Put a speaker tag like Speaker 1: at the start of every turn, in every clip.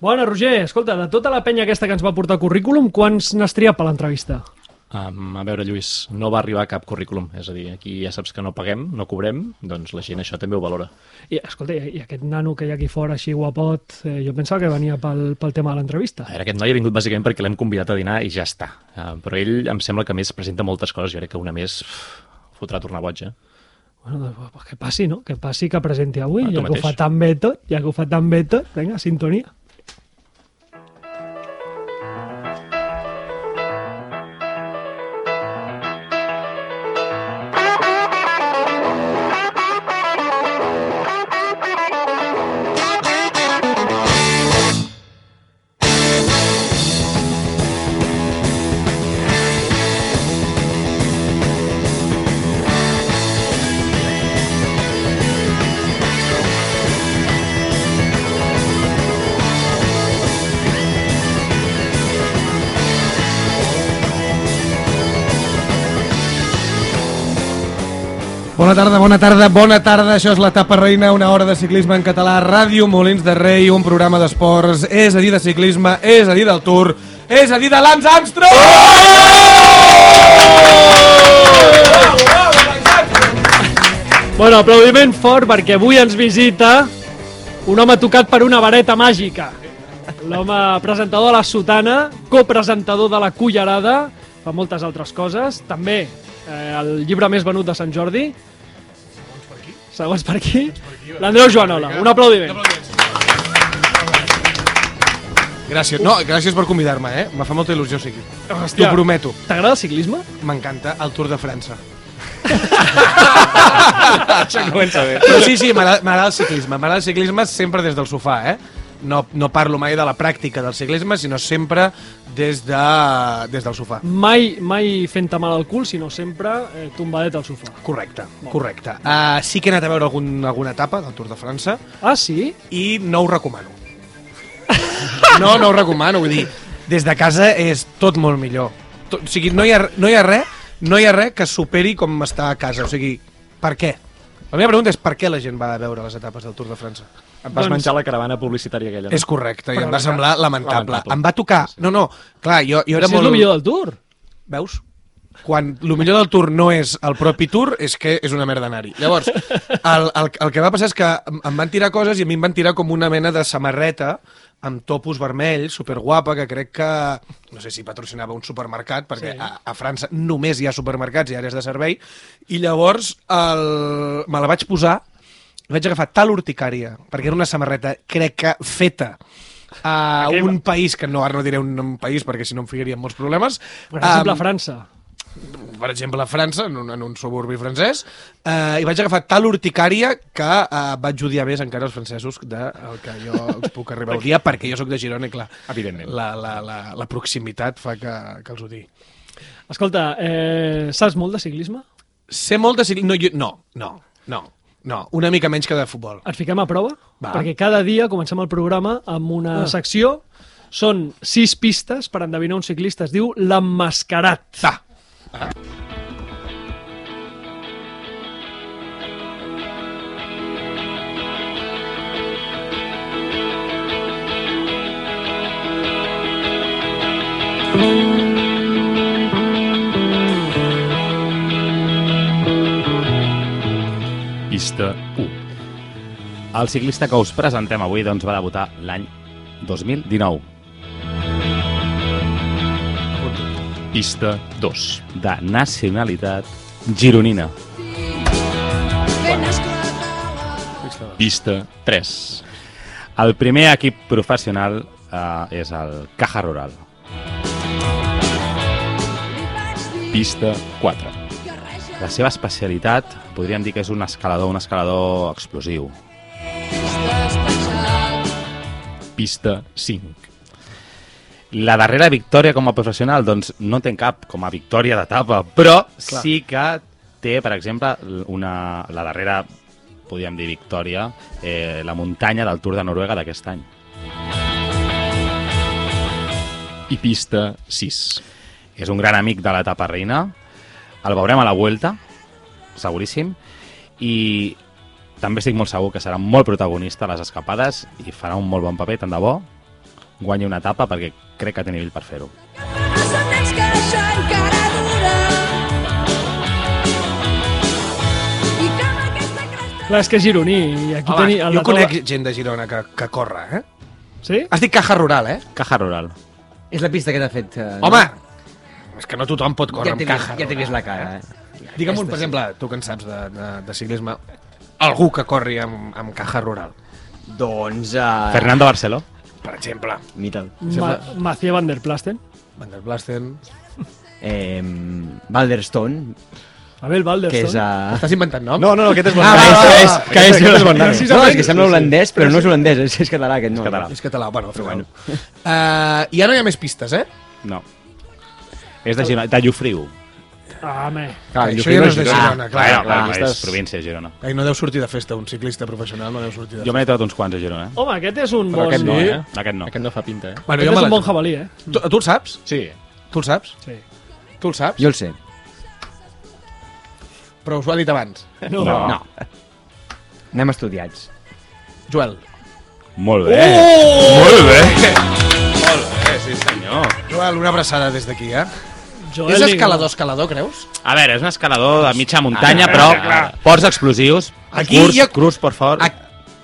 Speaker 1: Bona, Roger. Escolta, de tota la penya aquesta que ens va portar currículum, quants n'estria per l'entrevista?
Speaker 2: Um, a veure, Lluís, no va arribar cap currículum. És a dir, aquí ja saps que no paguem, no cobrem, doncs la gent això també ho valora.
Speaker 1: I, escolta, i, i aquest nano que hi ha aquí fora, així guapot, eh, jo pensava que venia pel, pel tema de l'entrevista.
Speaker 2: A veure, aquest noi ha vingut bàsicament perquè l'hem convidat a dinar i ja està. Uh, però ell em sembla que a més presenta moltes coses. Jo crec que una més uf, fotrà tornar boig, eh?
Speaker 1: Bueno, doncs, pues que passi, no? Que passi, que presenti avui,
Speaker 2: Ah, tu
Speaker 1: ja que ho fa
Speaker 2: mateix.
Speaker 1: tan bé tot, ja que ho fa tan bé tot. Vinga, sintonia.
Speaker 3: Bona tarda, bona tarda, bona tarda. Això és la Tapa Reina, una hora de ciclisme en català, Ràdio Molins de Rei, un programa d'esports, és a dir, de ciclisme, és a dir, del Tour, és a dir, de Lance Armstrong!
Speaker 1: Bueno, aplaudiment fort perquè avui ens visita un home tocat per una vareta màgica. L'home presentador de la sotana, copresentador de la cullerada, fa moltes altres coses. També eh, el llibre més venut de Sant Jordi. Segons per aquí. L'Andreu Joanola, un aplaudiment.
Speaker 3: Gràcies, no, gràcies per convidar-me, eh? Me fa molta il·lusió, sigui.
Speaker 1: Hòstia.
Speaker 3: T'ho prometo.
Speaker 1: T'agrada el ciclisme?
Speaker 3: M'encanta el Tour de França.
Speaker 2: Això comença bé.
Speaker 3: Però sí, sí, m'agrada m'agrada el ciclisme. M'agrada el ciclisme sempre des del sofà, eh? No, no parlo mai de la pràctica del ciclisme, sinó sempre des, de, des del sofà.
Speaker 1: Mai, mai fent-te mal al cul, sinó sempre eh, tombadet al sofà.
Speaker 3: Correcte, correcte. Uh, sí que he anat a veure algun, alguna etapa del Tour de França
Speaker 1: Ah, sí?
Speaker 3: i no ho recomano. No, no ho recomano, vull dir, des de casa és tot molt millor. Tot, o sigui, no hi, ha, no hi ha res no hi ha res que superi com estar a casa. O sigui, per què? La meva pregunta és per què la gent va a veure les etapes del Tour de França?
Speaker 2: Et vas
Speaker 1: Doncs-
Speaker 2: menjar la caravana publicitària aquella. no?
Speaker 3: És correcte, i em va semblar lamentable.
Speaker 2: Lamentable.
Speaker 3: Em va tocar... No, no, clar, jo, jo era
Speaker 1: si és
Speaker 3: molt...
Speaker 1: el millor del Tour.
Speaker 3: Veus? Quan el millor del tour no és el propi tour, és que és una merda anar-hi. Llavors, el, el, el que va passar és que em em van tirar coses i a mi em van tirar com una mena de samarreta amb topos vermells, superguapa, que crec que, no sé si patrocinava un supermercat, perquè sí. a, a França només hi ha supermercats i àrees de servei, i llavors el, me la vaig posar i vaig agafar tal urticària, perquè era una samarreta, crec que, feta a
Speaker 1: Aquell-
Speaker 3: un país, que no, ara no diré un, un país perquè si no em ficaria en molts problemes,
Speaker 1: Per exemple,
Speaker 3: Am,
Speaker 1: França.
Speaker 3: per exemple, a França, en un, en un suburbi francès, eh, i vaig agafar tal urticària que eh, vaig odiar més encara els francesos del que jo els puc arribar a odiar, perquè jo sóc de Girona i clar,
Speaker 2: Evidentment.
Speaker 3: La, la, la, la proximitat fa que, que els odiï.
Speaker 1: Escolta, eh, saps molt de ciclisme?
Speaker 3: Sé molt de ciclisme... No, jo, no, no, no, no, una mica menys que de futbol.
Speaker 1: Et fiquem a prova?
Speaker 3: Va.
Speaker 1: Perquè cada dia comencem el programa amb una
Speaker 3: Ah.
Speaker 1: secció. Són sis pistes per endevinar un ciclista. Es diu l'emmascarat.
Speaker 3: Ta.
Speaker 4: Pista 1. El ciclista que us presentem avui doncs, va debutar l'any 2019.
Speaker 2: Pista 2.
Speaker 4: De nacionalitat gironina.
Speaker 2: Pista 3.
Speaker 4: El primer equip professional eh, és el Caja Rural.
Speaker 2: Pista 4.
Speaker 4: La seva especialitat podríem dir que és un escalador, un escalador explosiu.
Speaker 2: Pista 5.
Speaker 4: La darrera victòria com a professional, doncs, no té cap com a victòria d'etapa, però Clar. sí que té, per exemple, una, la darrera, podríem dir, victòria, eh, la muntanya del Tour de Noruega d'aquest any.
Speaker 2: I pista 6.
Speaker 4: És un gran amic de l'etapa reina. El veurem a la Vuelta, seguríssim. I també estic molt segur que serà molt protagonista a les escapades i farà un molt bon paper, tant de bo, guanyi una etapa perquè crec que té nivell per fer-ho.
Speaker 5: Som nens que això encara dura. I que amb aquesta cresta...
Speaker 1: Clar, és que és gironí. I aquí
Speaker 3: Home,
Speaker 1: teni, a la
Speaker 3: jo
Speaker 1: taula-
Speaker 3: conec gent de Girona que, que corre, eh?
Speaker 1: Sí?
Speaker 3: Has dit caja rural, eh?
Speaker 4: Caja rural.
Speaker 6: És la pista que t'ha fet. eh, no?
Speaker 3: Home! És que no tothom pot córrer
Speaker 6: ja t'he
Speaker 3: amb caja
Speaker 6: vist, ja t'he vist la cara. Eh?
Speaker 3: Digue'm un, per
Speaker 6: Aquesta sí.
Speaker 3: exemple, tu que en saps de, de, de ciclisme, algú que corri amb, amb caja rural,
Speaker 6: Doncs...
Speaker 4: Ah.
Speaker 6: Uh,
Speaker 4: Fernando Barceló.
Speaker 3: per exemple.
Speaker 6: Mital.
Speaker 1: Ma Macié Van der Plasten.
Speaker 3: Van der Blasten...
Speaker 6: Eh, Balderstone,
Speaker 1: Abel Balderson.
Speaker 6: que és a...
Speaker 3: Estàs inventant nom?
Speaker 4: no, aquest és
Speaker 6: Ah, va, va, va.
Speaker 4: que és, que és bon nom.
Speaker 6: No, és que sembla holandès, però no és holandès, és, és català aquest nom.
Speaker 4: català.
Speaker 3: És català, bueno, però bueno. Uh, I ara no hi ha més pistes, eh?
Speaker 4: No. És de Girona, de Llofriu.
Speaker 1: Ah, home.
Speaker 4: Clar,
Speaker 3: Això ja no és de
Speaker 6: Ah,
Speaker 3: Girona, clar,
Speaker 4: Ah, Bueno,
Speaker 6: clar,
Speaker 4: clar, és
Speaker 6: aquestes-
Speaker 4: província de Girona.
Speaker 3: Ai, no deu sortir de festa, un ciclista professional no deu sortir de
Speaker 4: Jo
Speaker 3: festa.
Speaker 4: m'he trobat uns quants a Girona, eh?
Speaker 1: Home, aquest és un bon...
Speaker 4: aquest no,
Speaker 1: sí.
Speaker 4: eh? Aquest no.
Speaker 2: Aquest no fa pinta, eh?
Speaker 3: Bueno,
Speaker 1: Aquest és
Speaker 3: me la-
Speaker 1: un bon jabalí, eh?
Speaker 3: Tu, tu el saps?
Speaker 2: Sí.
Speaker 3: Tu el saps?
Speaker 1: Sí.
Speaker 3: Tu el saps?
Speaker 6: Jo el sé.
Speaker 3: Però us ho ha dit abans.
Speaker 1: No.
Speaker 4: No.
Speaker 6: No. Anem estudiats.
Speaker 3: Joel.
Speaker 4: Molt bé. Molt bé. Molt bé, sí senyor.
Speaker 3: Joel, una abraçada des d'aquí, eh?
Speaker 1: Joel
Speaker 3: És
Speaker 1: Nigro.
Speaker 3: escalador, escalador, creus?
Speaker 4: A veure, és un escalador de
Speaker 3: Ah,
Speaker 4: mitja muntanya, però ports explosius.
Speaker 3: Aquí
Speaker 4: curs,
Speaker 3: hi ha-
Speaker 4: Cruz, per favor.
Speaker 3: A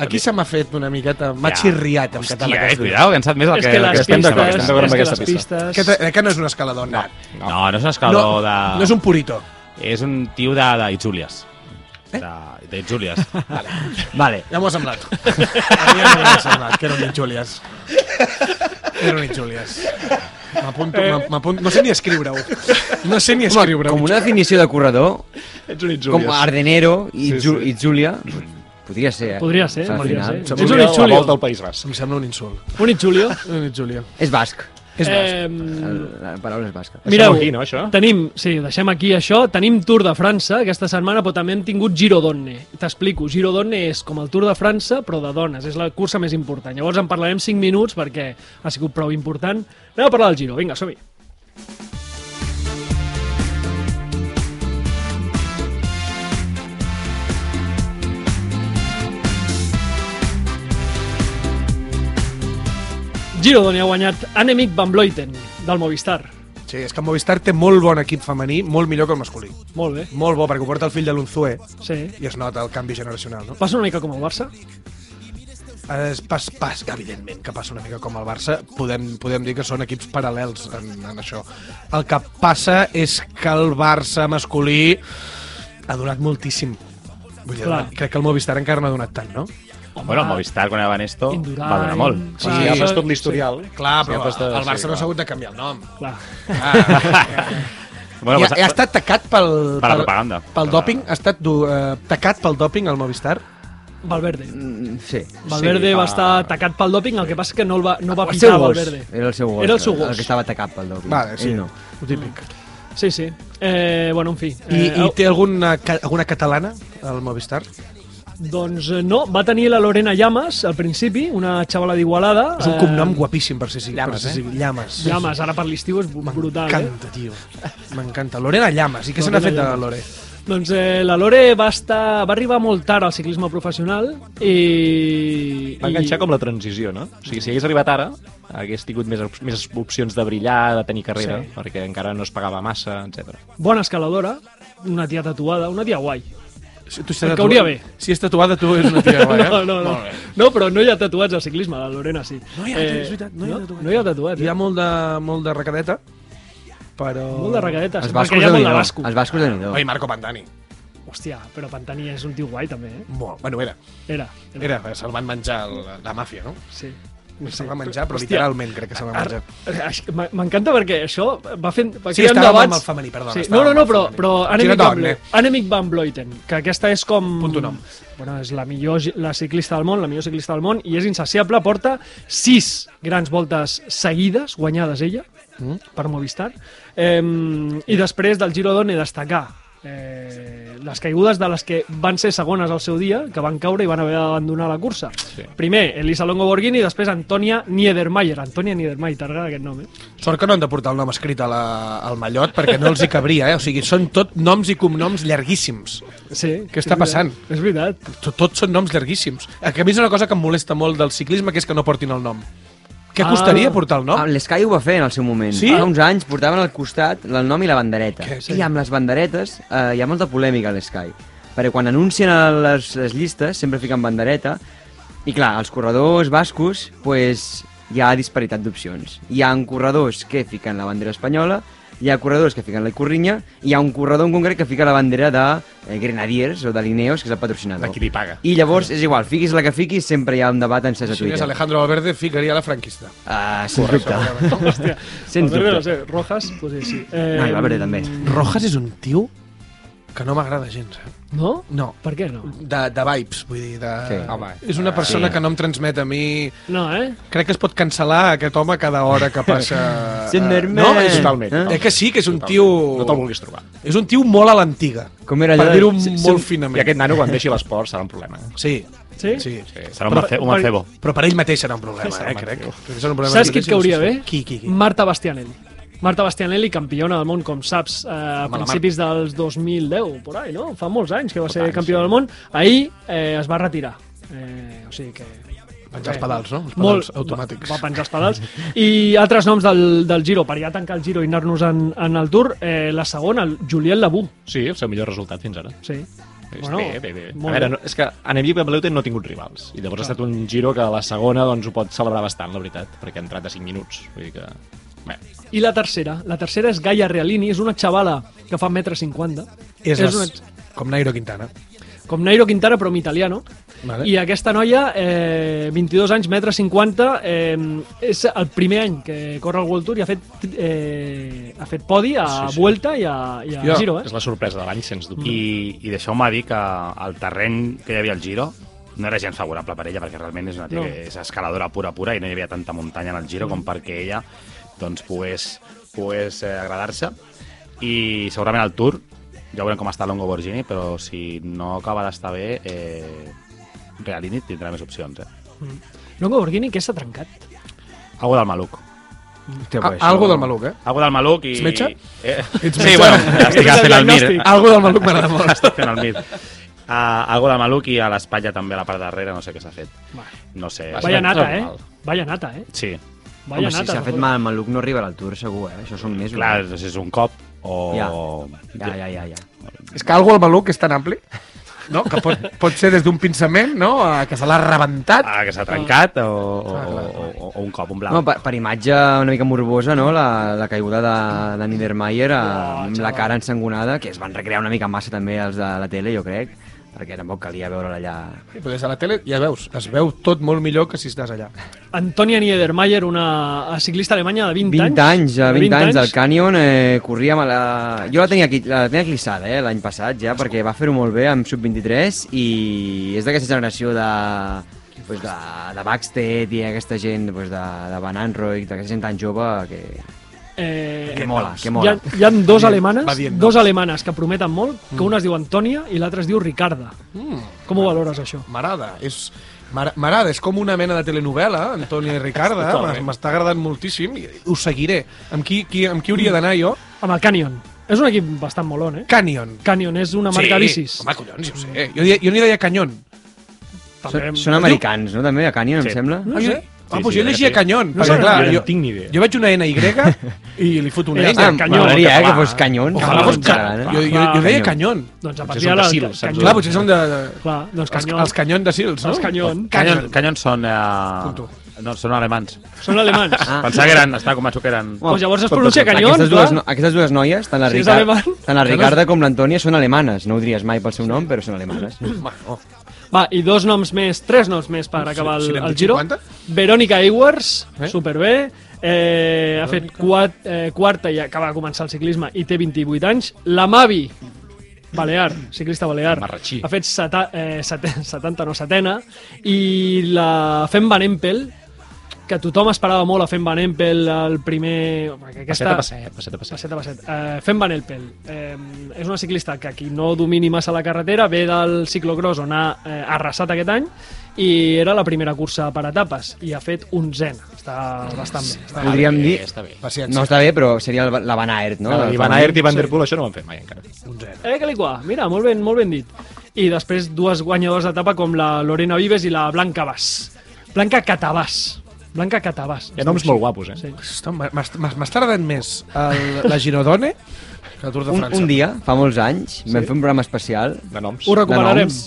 Speaker 3: aquí se m'ha fet una miqueta... M'ha
Speaker 4: Ja.
Speaker 3: xirriat en català.
Speaker 4: Hòstia, eh,
Speaker 3: aquesta.
Speaker 4: cuidao, que ens sap més el
Speaker 1: És
Speaker 4: que,
Speaker 1: que
Speaker 4: el
Speaker 1: les
Speaker 4: que estem
Speaker 1: pistes... eh,
Speaker 4: d'acord.
Speaker 2: estem
Speaker 1: És
Speaker 2: d'acord amb
Speaker 1: que
Speaker 2: aquesta
Speaker 1: les pistes...
Speaker 3: Aquest, aquest no és un escalador, no.
Speaker 4: No, no és un escalador
Speaker 3: no,
Speaker 4: de...
Speaker 3: no és un purito.
Speaker 4: És un tio de, de Itzulias. Eh? De, de Itzulias.
Speaker 6: Vale.
Speaker 3: Ja m'ho ha semblat. A mi ja m'ho ha semblat, que era un Injúlies. Era un Injúlies. M'apunto, eh? m'apunto... No sé ni escriure-ho. No sé ni escriure-ho.
Speaker 6: Com una definició de corredor,
Speaker 2: Ets un
Speaker 6: com
Speaker 2: injúlies.
Speaker 6: Ardenero i, sí, sí. i Júlia, podria ser. Eh?
Speaker 1: Podria ser,
Speaker 6: Al
Speaker 1: podria
Speaker 6: final.
Speaker 1: ser.
Speaker 3: Som
Speaker 1: És un
Speaker 3: la
Speaker 2: La volta
Speaker 1: itxulio.
Speaker 2: al País Basc.
Speaker 3: Em sembla un insult.
Speaker 1: Un itxulio.
Speaker 3: Un Injúlia.
Speaker 6: És basc.
Speaker 3: És eh...
Speaker 1: Eh,
Speaker 6: El, la paraula és basca.
Speaker 1: Mireu,
Speaker 2: aquí, no, això?
Speaker 1: tenim, sí, deixem aquí això, tenim Tour de França aquesta setmana, però també hem tingut Giro d'Onne. T'explico, Giro d'Onne és com el Tour de França, però de dones, és la cursa més important. Llavors en parlarem 5 minuts perquè ha sigut prou important. Anem a parlar del Giro, vinga, som-hi. Giro d'Onne ha guanyat Anemic Van Vleuten, del Movistar.
Speaker 3: Sí, és que Movistar té molt bon equip femení, molt millor que el masculí.
Speaker 1: Molt bé,
Speaker 3: Molt bo, perquè ho porta el fill de l'Unzué
Speaker 1: sí.
Speaker 3: i es nota el canvi generacional, no?
Speaker 1: Passa una mica com el Barça?
Speaker 3: Es pas, pas, evidentment, que passa una mica com el Barça. Podem, podem dir que són equips paral·lels en, en això. El que passa és que el Barça masculí ha donat moltíssim. Vull dir,
Speaker 1: Clar.
Speaker 3: crec que el Movistar encara no ha donat tant, no?
Speaker 4: bueno, el Movistar, quan era Vanesto,
Speaker 1: Indurain,
Speaker 4: va donar molt.
Speaker 2: Sí, ja fas tot l'historial.
Speaker 3: Clar, però
Speaker 2: agafes de-
Speaker 3: el Barça
Speaker 2: sí,
Speaker 3: no
Speaker 2: clar.
Speaker 3: ha hagut de canviar el nom.
Speaker 1: Clar.
Speaker 3: I
Speaker 4: Bueno,
Speaker 3: ha,
Speaker 4: passa-
Speaker 3: ha estat tacat pel...
Speaker 4: Per la propaganda.
Speaker 3: Pel dòping? Ha estat du, eh, tacat pel dòping el Movistar?
Speaker 1: Valverde.
Speaker 6: Mm, sí.
Speaker 1: Valverde
Speaker 4: Sí,
Speaker 1: va
Speaker 4: ah.
Speaker 1: estar atacat pel dòping, el que passa és que no, el va, no va
Speaker 6: El
Speaker 1: pitar
Speaker 6: seu gos.
Speaker 1: Valverde.
Speaker 6: Era el seu gos.
Speaker 1: Era el seu gos.
Speaker 6: El que estava atacat pel dòping.
Speaker 3: Vale, sí.
Speaker 6: Ell no.
Speaker 3: Ho típic.
Speaker 1: Sí, sí. Eh, bueno, en fi.
Speaker 3: I,
Speaker 1: Eh,
Speaker 3: i té alguna, ca- alguna catalana, el Movistar?
Speaker 1: Doncs eh, no, va tenir la Lorena Llamas al principi, una xavala d'Igualada. Eh,
Speaker 3: És un cognom guapíssim per ser civil.
Speaker 6: Llamas,
Speaker 3: per ser, eh? Llames.
Speaker 1: Llamas, ara per l'estiu és brutal, eh?
Speaker 3: M'encanta, tio. M'encanta. Lorena Llamas. I què se n'ha
Speaker 1: Lorena
Speaker 3: fet de la
Speaker 1: Llamas.
Speaker 3: Lore?
Speaker 1: Doncs eh, la Lore va, estar, va arribar molt tard al ciclisme professional i...
Speaker 2: Va enganxar
Speaker 1: i-
Speaker 2: com la transició, no? O sigui, si hagués arribat ara, hagués tingut més, op- més opcions de brillar, de tenir carrera,
Speaker 1: Sí.
Speaker 2: sí. perquè encara no es pagava massa, etc.
Speaker 3: Eh,
Speaker 1: Bona escaladora, una tia tatuada, una tia guai.
Speaker 3: Si tu
Speaker 1: Em cauria bé.
Speaker 3: Si és tatuada, tu és una tia guai, eh?
Speaker 1: No, no, no. no, però no hi ha tatuats al ciclisme, la Lorena sí. Eh,
Speaker 3: No hi ha, és veritat, no hi ha tatuats.
Speaker 1: No hi ha tatuats.
Speaker 3: Hi ha molt de, molt de recadeta, però...
Speaker 1: Molt de regadetes, eh,
Speaker 6: Els
Speaker 1: perquè
Speaker 6: bascos
Speaker 1: hi ha
Speaker 6: de
Speaker 1: molt de
Speaker 6: Nidó.
Speaker 1: basco.
Speaker 6: Els bascos de Nidó.
Speaker 3: Oi, Marco Pantani.
Speaker 1: Hòstia, però Pantani és un tio guai també, eh?
Speaker 3: Molt. Bueno, era.
Speaker 1: Era.
Speaker 3: Era, se'l van menjar el, la màfia, no?
Speaker 1: Sí.
Speaker 3: No se'l va menjar, però
Speaker 1: Hòstia.
Speaker 3: literalment crec que se'l va menjar.
Speaker 1: Així- m'a- M'encanta perquè això va fent... Va
Speaker 3: Sí,
Speaker 1: creant
Speaker 3: estàvem
Speaker 1: debats.
Speaker 3: amb el femení, perdona,
Speaker 1: Sí. No,
Speaker 3: estàvem
Speaker 1: no, no,
Speaker 3: amb el
Speaker 1: però,
Speaker 3: femení.
Speaker 1: però
Speaker 3: Gira
Speaker 1: Anemic, Van
Speaker 3: d'Orne.
Speaker 1: Blo- Anemic Van Bloiten, que aquesta és com...
Speaker 3: Punto nom.
Speaker 1: Bueno, és la millor gi- la ciclista del món, la millor ciclista del món, i és insaciable, porta sis grans voltes seguides, guanyades ella, mm. per Movistar, eh, i després del Giro d'One destacar eh, les caigudes de les que van ser segones al seu dia, que van caure i van haver d'abandonar la cursa. Sí. Primer, Elisa Longo Borghini, i després Antonia Niedermayer. Antonia Niedermayer, t'agrada aquest nom, eh?
Speaker 3: Sort que no han de portar el nom escrit a la, al mallot perquè no els hi cabria, eh? O sigui, són tot noms i cognoms llarguíssims.
Speaker 1: Sí.
Speaker 3: Què
Speaker 1: és
Speaker 3: està
Speaker 1: veritat,
Speaker 3: passant?
Speaker 1: És veritat.
Speaker 3: Tot, tot són noms llarguíssims. A mi és una cosa que em molesta molt del ciclisme, que és que no portin el nom. Què costaria portar el nom?
Speaker 6: Ah, L'Sky ho va fer en el seu moment.
Speaker 3: Sí?
Speaker 6: Fa uns anys portaven al costat el nom i la bandereta.
Speaker 3: Què?
Speaker 6: I amb les banderetes eh, hi ha molta polèmica a l'Sky. Perquè quan anuncien a les, les llistes sempre fiquen bandereta i clar, els corredors bascos pues, hi ha disparitat d'opcions. Hi ha corredors que fiquen la bandera espanyola, hi ha corredors que fiquen la corrinya, hi ha un corredor en concret que fica la bandera de eh, Grenadiers o de Lineos, que és el patrocinador.
Speaker 4: De qui li paga.
Speaker 6: I llavors, és igual, fiquis la que fiquis, sempre hi ha un debat encès a
Speaker 3: Si n'és
Speaker 6: Twitter.
Speaker 3: Alejandro Valverde, ficaria la franquista.
Speaker 6: Ah, sens dubte.
Speaker 1: Hòstia.
Speaker 6: Sens
Speaker 1: Valverde,
Speaker 6: dubte.
Speaker 1: no sé, Rojas, pues sí.
Speaker 6: No, i Valverde també.
Speaker 3: Rojas és un tio que no m'agrada gens, eh?
Speaker 1: No?
Speaker 3: No.
Speaker 1: Per què no?
Speaker 3: De, de vibes, vull dir, de...
Speaker 6: Sí.
Speaker 3: Home, és una persona
Speaker 6: sí.
Speaker 3: que no em transmet a mi...
Speaker 1: No, eh?
Speaker 3: Crec que es pot cancel·lar aquest home cada hora que passa... eh,
Speaker 6: Zimmerman.
Speaker 3: No, és,
Speaker 6: Totalment,
Speaker 3: eh?
Speaker 6: no.
Speaker 3: eh que sí, que és un tio...
Speaker 2: No te'l vulguis trobar.
Speaker 3: És un tio molt a l'antiga.
Speaker 6: Com era
Speaker 3: Per
Speaker 6: allò?
Speaker 3: dir-ho
Speaker 6: Sí,
Speaker 3: molt finament.
Speaker 2: I aquest nano, quan deixi l'esport, serà un problema.
Speaker 3: Sí,
Speaker 1: Sí?
Speaker 3: sí.
Speaker 2: Eh, Serà un, mace un mancebo.
Speaker 3: Però per ell mateix serà un problema, eh, crec. Serà un problema
Speaker 1: Saps qui
Speaker 3: que
Speaker 1: et cauria bé?
Speaker 3: Qui, qui, qui?
Speaker 1: Marta Bastianelli. Marta Bastianelli, campiona del món, com saps, eh, a
Speaker 3: Home, la
Speaker 1: principis dels 2010, por ahí, no? Fa molts anys que va ser campió del món. Ahir eh, es va retirar. Eh, o sigui que...
Speaker 3: Penjar els
Speaker 1: Eh,
Speaker 3: pedals, no? Els pedals
Speaker 1: molt,
Speaker 3: automàtics.
Speaker 1: Va, va penjar els pedals. I altres noms del, del Giro, per ja tancar el Giro i anar-nos en, en el Tour. Eh, la segona, el Julien Labú.
Speaker 2: Sí, el seu millor resultat fins ara.
Speaker 1: Sí.
Speaker 2: Bueno, bé, bé, bé. A
Speaker 1: molt
Speaker 2: veure, no, és que a Neville Van Vleuten no ha tingut rivals. I llavors ha estat un giro que a la segona doncs, ho pot celebrar bastant, la veritat, perquè ha entrat a 5 minuts. Vull dir que... Bé,
Speaker 1: I la tercera, la tercera és Gaia Realini, és una xavala que fa 1,50 m.
Speaker 3: És,
Speaker 1: és
Speaker 3: les...
Speaker 1: una-
Speaker 3: Com Nairo Quintana.
Speaker 1: Com Nairo Quintana, però en italiano.
Speaker 3: Vale.
Speaker 1: I aquesta noia, eh, 22 anys, 1,50 m, eh, és el primer any que corre el World Tour i ha fet, eh, ha fet podi a
Speaker 2: Sí, sí.
Speaker 1: Vuelta i a, i a
Speaker 3: Hòstia,
Speaker 1: Giro. Eh?
Speaker 2: és la sorpresa de l'any, sens dubte. I
Speaker 4: I, i deixeu-me dir que el terreny que hi havia al Giro no era gens favorable per ella, perquè realment és una tia
Speaker 1: No.
Speaker 4: no. que és escaladora pura pura i no hi havia tanta muntanya en el Giro com perquè ella doncs pogués, pogués eh, agradar-se i segurament el Tour ja veurem com està l'Ongo Borgini, però si no acaba d'estar bé eh, Realini tindrà més opcions eh?
Speaker 1: Longo Borghini, que s'ha trencat.
Speaker 4: Algo del maluc
Speaker 3: Ah,
Speaker 6: Hòstia, pues, això-
Speaker 3: algo del maluc, eh?
Speaker 4: Algo del maluc i...
Speaker 3: Ets metge?
Speaker 4: Eh?
Speaker 3: Ets
Speaker 4: sí,
Speaker 3: metge?
Speaker 4: bueno, estic
Speaker 1: Ets el
Speaker 4: fent el mir. eh?
Speaker 1: diagnòstic.
Speaker 3: Algo del maluc m'agrada molt.
Speaker 4: Estic fent el mir. Uh, algo del maluc i a l'espatlla també, a la part darrere, no sé què s'ha fet.
Speaker 1: Bueno.
Speaker 4: No sé.
Speaker 1: Vaya
Speaker 2: Bastant
Speaker 1: nata, eh?
Speaker 2: normal.
Speaker 1: Vaya nata, eh?
Speaker 4: Sí,
Speaker 1: Vaya
Speaker 6: Home,
Speaker 1: nata.
Speaker 6: si s'ha fet mal al maluc no arriba a l'altura, segur, eh? Això són mesos.
Speaker 4: clar, doncs és un cop o...
Speaker 6: Ja. Ja, ja, ja, ja.
Speaker 3: És que algo al maluc és tan ampli no? que pot, pot ser des d'un pinçament no? a que se l'ha rebentat
Speaker 4: Ah, que s'ha trencat o, o,
Speaker 3: Ah, Clar, clar,
Speaker 4: o, o, o un cop, un blanc.
Speaker 6: No, per, per imatge una mica morbosa, no? La, la caiguda de, de Niedermayer eh,
Speaker 1: Uah,
Speaker 6: amb la
Speaker 1: xaval.
Speaker 6: cara ensangonada, que es van recrear una mica massa també els de la tele, jo crec, perquè tampoc calia veure-la allà...
Speaker 3: Sí, però des de la tele ja veus, es veu tot molt millor que si estàs allà
Speaker 1: Antonia Niedermayer, una ciclista alemanya de 20,
Speaker 6: 20 anys, eh,
Speaker 1: de
Speaker 6: 20 anys del Canyon, eh, corria amb la... Jo la tenia, aquí, la tenia clissada eh, l'any passat ja, perquè va fer-ho molt bé amb Sub-23 i és d'aquesta generació de, pues de, de Backstead i aquesta gent pues de, de Van Anroig, d'aquesta gent tan jove que,
Speaker 1: Eh,
Speaker 6: que mola, que
Speaker 1: hi ha,
Speaker 6: mola.
Speaker 1: hi ha dos
Speaker 3: va
Speaker 1: alemanes,
Speaker 3: dient doncs. Mm. noms.
Speaker 1: dos alemanes que prometen molt, que una es diu Antonia i l'altra es diu Ricarda.
Speaker 3: Mm.
Speaker 1: Com ho valores, això?
Speaker 3: m'agrada, és m'ara- m'agrada, és com una mena de telenovela, Antoni i Ricarda, m'es- m'està agradant moltíssim i ho seguiré. Amb qui, qui, amb qui hauria d'anar jo?
Speaker 1: Amb el Canyon. És un equip bastant molon, eh?
Speaker 3: Canyon.
Speaker 1: Canyon és una marca de bicis.
Speaker 3: home, collons, jo ho sé. Jo, diria- jo n'hi deia Canyon.
Speaker 1: També,
Speaker 6: Són americans, no? També, a Canyon, em sembla.
Speaker 3: Ah, jo,
Speaker 1: sé.
Speaker 3: ah,
Speaker 4: Sí,
Speaker 3: doncs
Speaker 4: sí,
Speaker 3: jo llegia
Speaker 4: sí.
Speaker 3: Canyon,
Speaker 1: No
Speaker 3: perquè
Speaker 1: sé,
Speaker 3: clar,
Speaker 1: jo no
Speaker 3: jo,
Speaker 2: tinc ni idea.
Speaker 3: jo veig una N i i li foto una
Speaker 1: Ja
Speaker 3: N.
Speaker 1: està.
Speaker 6: Ah,
Speaker 1: Canyón,
Speaker 6: m'agradaria, eh,
Speaker 4: català.
Speaker 6: que fos eh? Canyon.
Speaker 3: Ojalà fos
Speaker 1: clar,
Speaker 3: Canyon.
Speaker 1: clar,
Speaker 3: Jo, jo,
Speaker 1: clar.
Speaker 3: jo deia Canyon.
Speaker 1: Doncs a
Speaker 2: Potser
Speaker 1: partir d'ara...
Speaker 2: són de
Speaker 1: el
Speaker 2: Sils, saps?
Speaker 1: Canyon-
Speaker 3: Clar, potser són de...
Speaker 1: Clar, doncs
Speaker 3: Els,
Speaker 1: Canyon.
Speaker 3: els Canyon de Sils, no?
Speaker 1: Els Canyon.
Speaker 4: Canyon, Canyon són... Eh,
Speaker 3: Punto.
Speaker 4: no, són alemans.
Speaker 1: Són alemans.
Speaker 6: Ah.
Speaker 4: Pensava que eren, estava convençut que eren...
Speaker 1: Doncs llavors es
Speaker 6: Però,
Speaker 1: pronuncia
Speaker 6: però,
Speaker 1: Canyon,
Speaker 6: aquestes
Speaker 1: clar.
Speaker 6: dues, no, aquestes dues noies, tant la,
Speaker 1: Si és
Speaker 6: Ricard,
Speaker 1: alemany.
Speaker 6: tant la Ricarda com l'Antònia, són alemanes. No ho diries mai pel seu nom, però són alemanes.
Speaker 1: Va, i dos noms més, tres noms més per acabar
Speaker 3: si
Speaker 1: el,
Speaker 3: n'hem
Speaker 1: el
Speaker 3: dit
Speaker 1: giro.
Speaker 3: 50?
Speaker 1: Verónica Ewers, eh?
Speaker 3: Eh?
Speaker 1: superbé. Eh, ha fet quat, eh, quarta i acaba de començar el ciclisme i té 28 anys. La Mavi, Balear, ciclista balear.
Speaker 2: Marratxí.
Speaker 1: Ha fet seta, eh, seten, 70, no, setena. I la Fem Van Empel, que tothom esperava molt a Fem Van Empel el primer... perquè
Speaker 2: passet a passet, passet a passet.
Speaker 1: Passet a passet. Eh, Fem Van Elpel. Eh, és una ciclista que qui no domini massa la carretera ve del ciclocross on ha eh, arrasat aquest any i era la primera cursa per etapes i ha fet onzena. Està bastant bé. Està bé.
Speaker 6: Podríem dir...
Speaker 2: Està bé.
Speaker 6: No
Speaker 3: Paciència.
Speaker 6: està bé, però seria el- la Van Aert, no?
Speaker 2: No, I Van Aert i Van Der Poel això no ho han fet mai encara.
Speaker 3: Un zero.
Speaker 1: Eh, Calicua, mira, molt ben, molt ben dit. I després dues guanyadores d'etapa com la Lorena Vives i la Blanca Bas. Blanca Catabàs. Blanca Catabàs.
Speaker 2: Hi ha noms molt guapos, eh?
Speaker 1: Sí.
Speaker 3: Hosta, m'ha- m'has- m'has- M'has tardat més el, la Girodone que el Tour de
Speaker 6: Un,
Speaker 3: França.
Speaker 6: un dia, fa molts anys, sí. vam fer un programa especial
Speaker 2: De noms.
Speaker 1: Ho recuperarem.
Speaker 6: noms.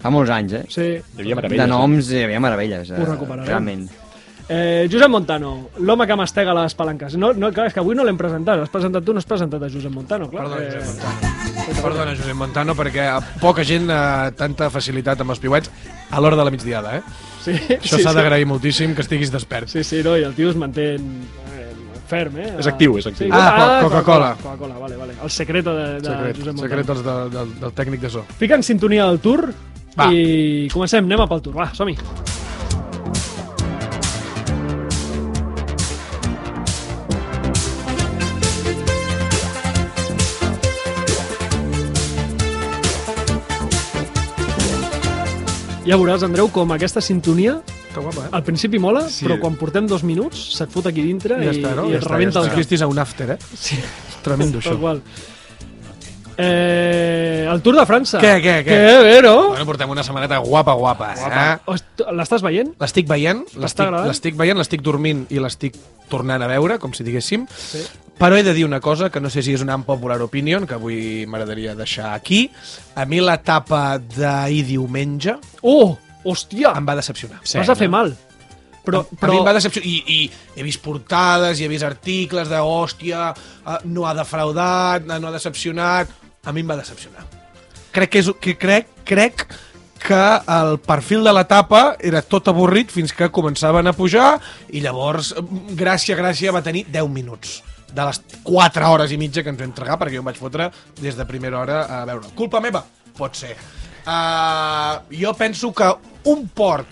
Speaker 6: Fa molts anys, eh?
Speaker 1: Sí.
Speaker 2: Hi havia
Speaker 6: De
Speaker 2: meravelles.
Speaker 6: noms hi havia meravelles.
Speaker 1: Ho recuperarem.
Speaker 6: Realment.
Speaker 1: Eh, Josep Montano, l'home que mastega les palanques. No, no, clar, és que avui no l'hem presentat. Has presentat tu, no has presentat a Josep Montano, clar.
Speaker 3: Perdona,
Speaker 1: Eh,
Speaker 3: Josep Montano. Perdona, Josep Montano, perquè a poca gent eh, tanta facilitat amb els piuets a l'hora de la migdiada, eh?
Speaker 1: Sí,
Speaker 3: Això
Speaker 1: sí,
Speaker 3: s'ha
Speaker 1: sí.
Speaker 3: d'agrair moltíssim, que estiguis despert.
Speaker 1: Sí, sí, no, i el tio es manté eh, ferm, eh?
Speaker 2: És actiu, és actiu.
Speaker 3: Ah, Co- Coca-Cola.
Speaker 1: Coca-Cola, vale, vale. El secreto de, de
Speaker 3: Secret,
Speaker 1: Josep Montano.
Speaker 3: secret dels de, del, del tècnic de so.
Speaker 1: Fica en sintonia del tour
Speaker 3: Va.
Speaker 1: i comencem, anem a pel tour, va, som-hi. Ja veuràs, Andreu, com aquesta sintonia
Speaker 3: Que guapa, eh?
Speaker 1: al principi mola,
Speaker 2: Sí.
Speaker 1: sí. però quan portem dos minuts se't fot aquí dintre
Speaker 3: Ja
Speaker 1: i,
Speaker 3: està, no?
Speaker 1: i et
Speaker 3: ja està,
Speaker 1: rebenta
Speaker 3: ja
Speaker 1: el
Speaker 3: està.
Speaker 1: cap.
Speaker 3: Aquí estàs a un after, eh?
Speaker 1: Sí.
Speaker 3: Tremendo,
Speaker 1: Tal
Speaker 3: això.
Speaker 1: qual. Eh, el Tour de França.
Speaker 3: Què, què, què?
Speaker 1: Que bé, no?
Speaker 3: Bueno, portem una setmaneta guapa, guapa, guapa. eh?
Speaker 1: Host- L'estàs veient?
Speaker 3: L'estic veient, l'estic
Speaker 1: agradant?
Speaker 3: l'estic veient, l'estic dormint i l'estic tornant a veure, com si diguéssim. Sí. Però he de dir una cosa que no sé si és una unpopular opinion, que avui m'agradaria deixar aquí. A mi l'etapa d'ahir diumenge
Speaker 1: Oh, hòstia!
Speaker 3: em va decepcionar.
Speaker 1: Vas a fer mal. Però,
Speaker 3: Però... A
Speaker 1: però...
Speaker 3: mi em va decepcionar. I, I he vist portades, i he vist articles de hòstia, eh, no ha defraudat, eh, no ha decepcionat... A mi em va decepcionar. Crec que, és, que crec, crec que el perfil de l'etapa era tot avorrit fins que començaven a pujar i llavors eh, Gràcia, Gràcia va tenir 10 minuts de les 4 hores i mitja que ens vam tragar perquè jo em vaig fotre des de primera hora a veure. Culpa meva? Pot ser. Uh, jo penso que un port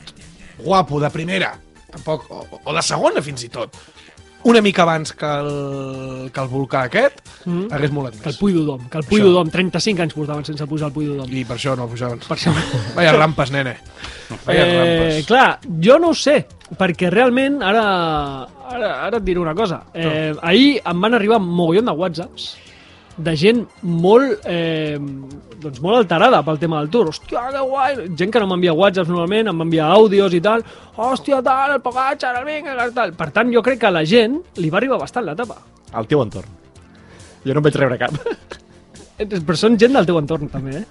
Speaker 3: guapo de primera, tampoc, o, o de segona fins i tot, una mica abans que el, que el volcà aquest, mm -hmm. hagués molat
Speaker 1: Que el
Speaker 3: més.
Speaker 1: Puy d'Udom, que el Puy d'Udom, 35 anys portaven sense pujar el Puy d'Udom.
Speaker 3: I per això no pujaven.
Speaker 1: Per això...
Speaker 3: Vaya rampes, nene. Vaya
Speaker 1: Eh,
Speaker 3: rampes.
Speaker 1: clar, jo no ho sé, perquè realment, ara, ara, ara et diré una cosa. Eh, ahir em van arribar un mogollon de whatsapps de gent molt, eh, doncs molt alterada pel tema del tour. Hòstia, que guai! Gent que no m'envia whatsapps normalment, em va enviar àudios i tal. Hòstia, tal, el Pogatxa, el Vinga, el tal... Per tant, jo crec que a la gent li va arribar bastant l'etapa.
Speaker 2: Al teu entorn. Jo no en vaig rebre cap.
Speaker 1: Eh, Però són gent del teu entorn, també, eh?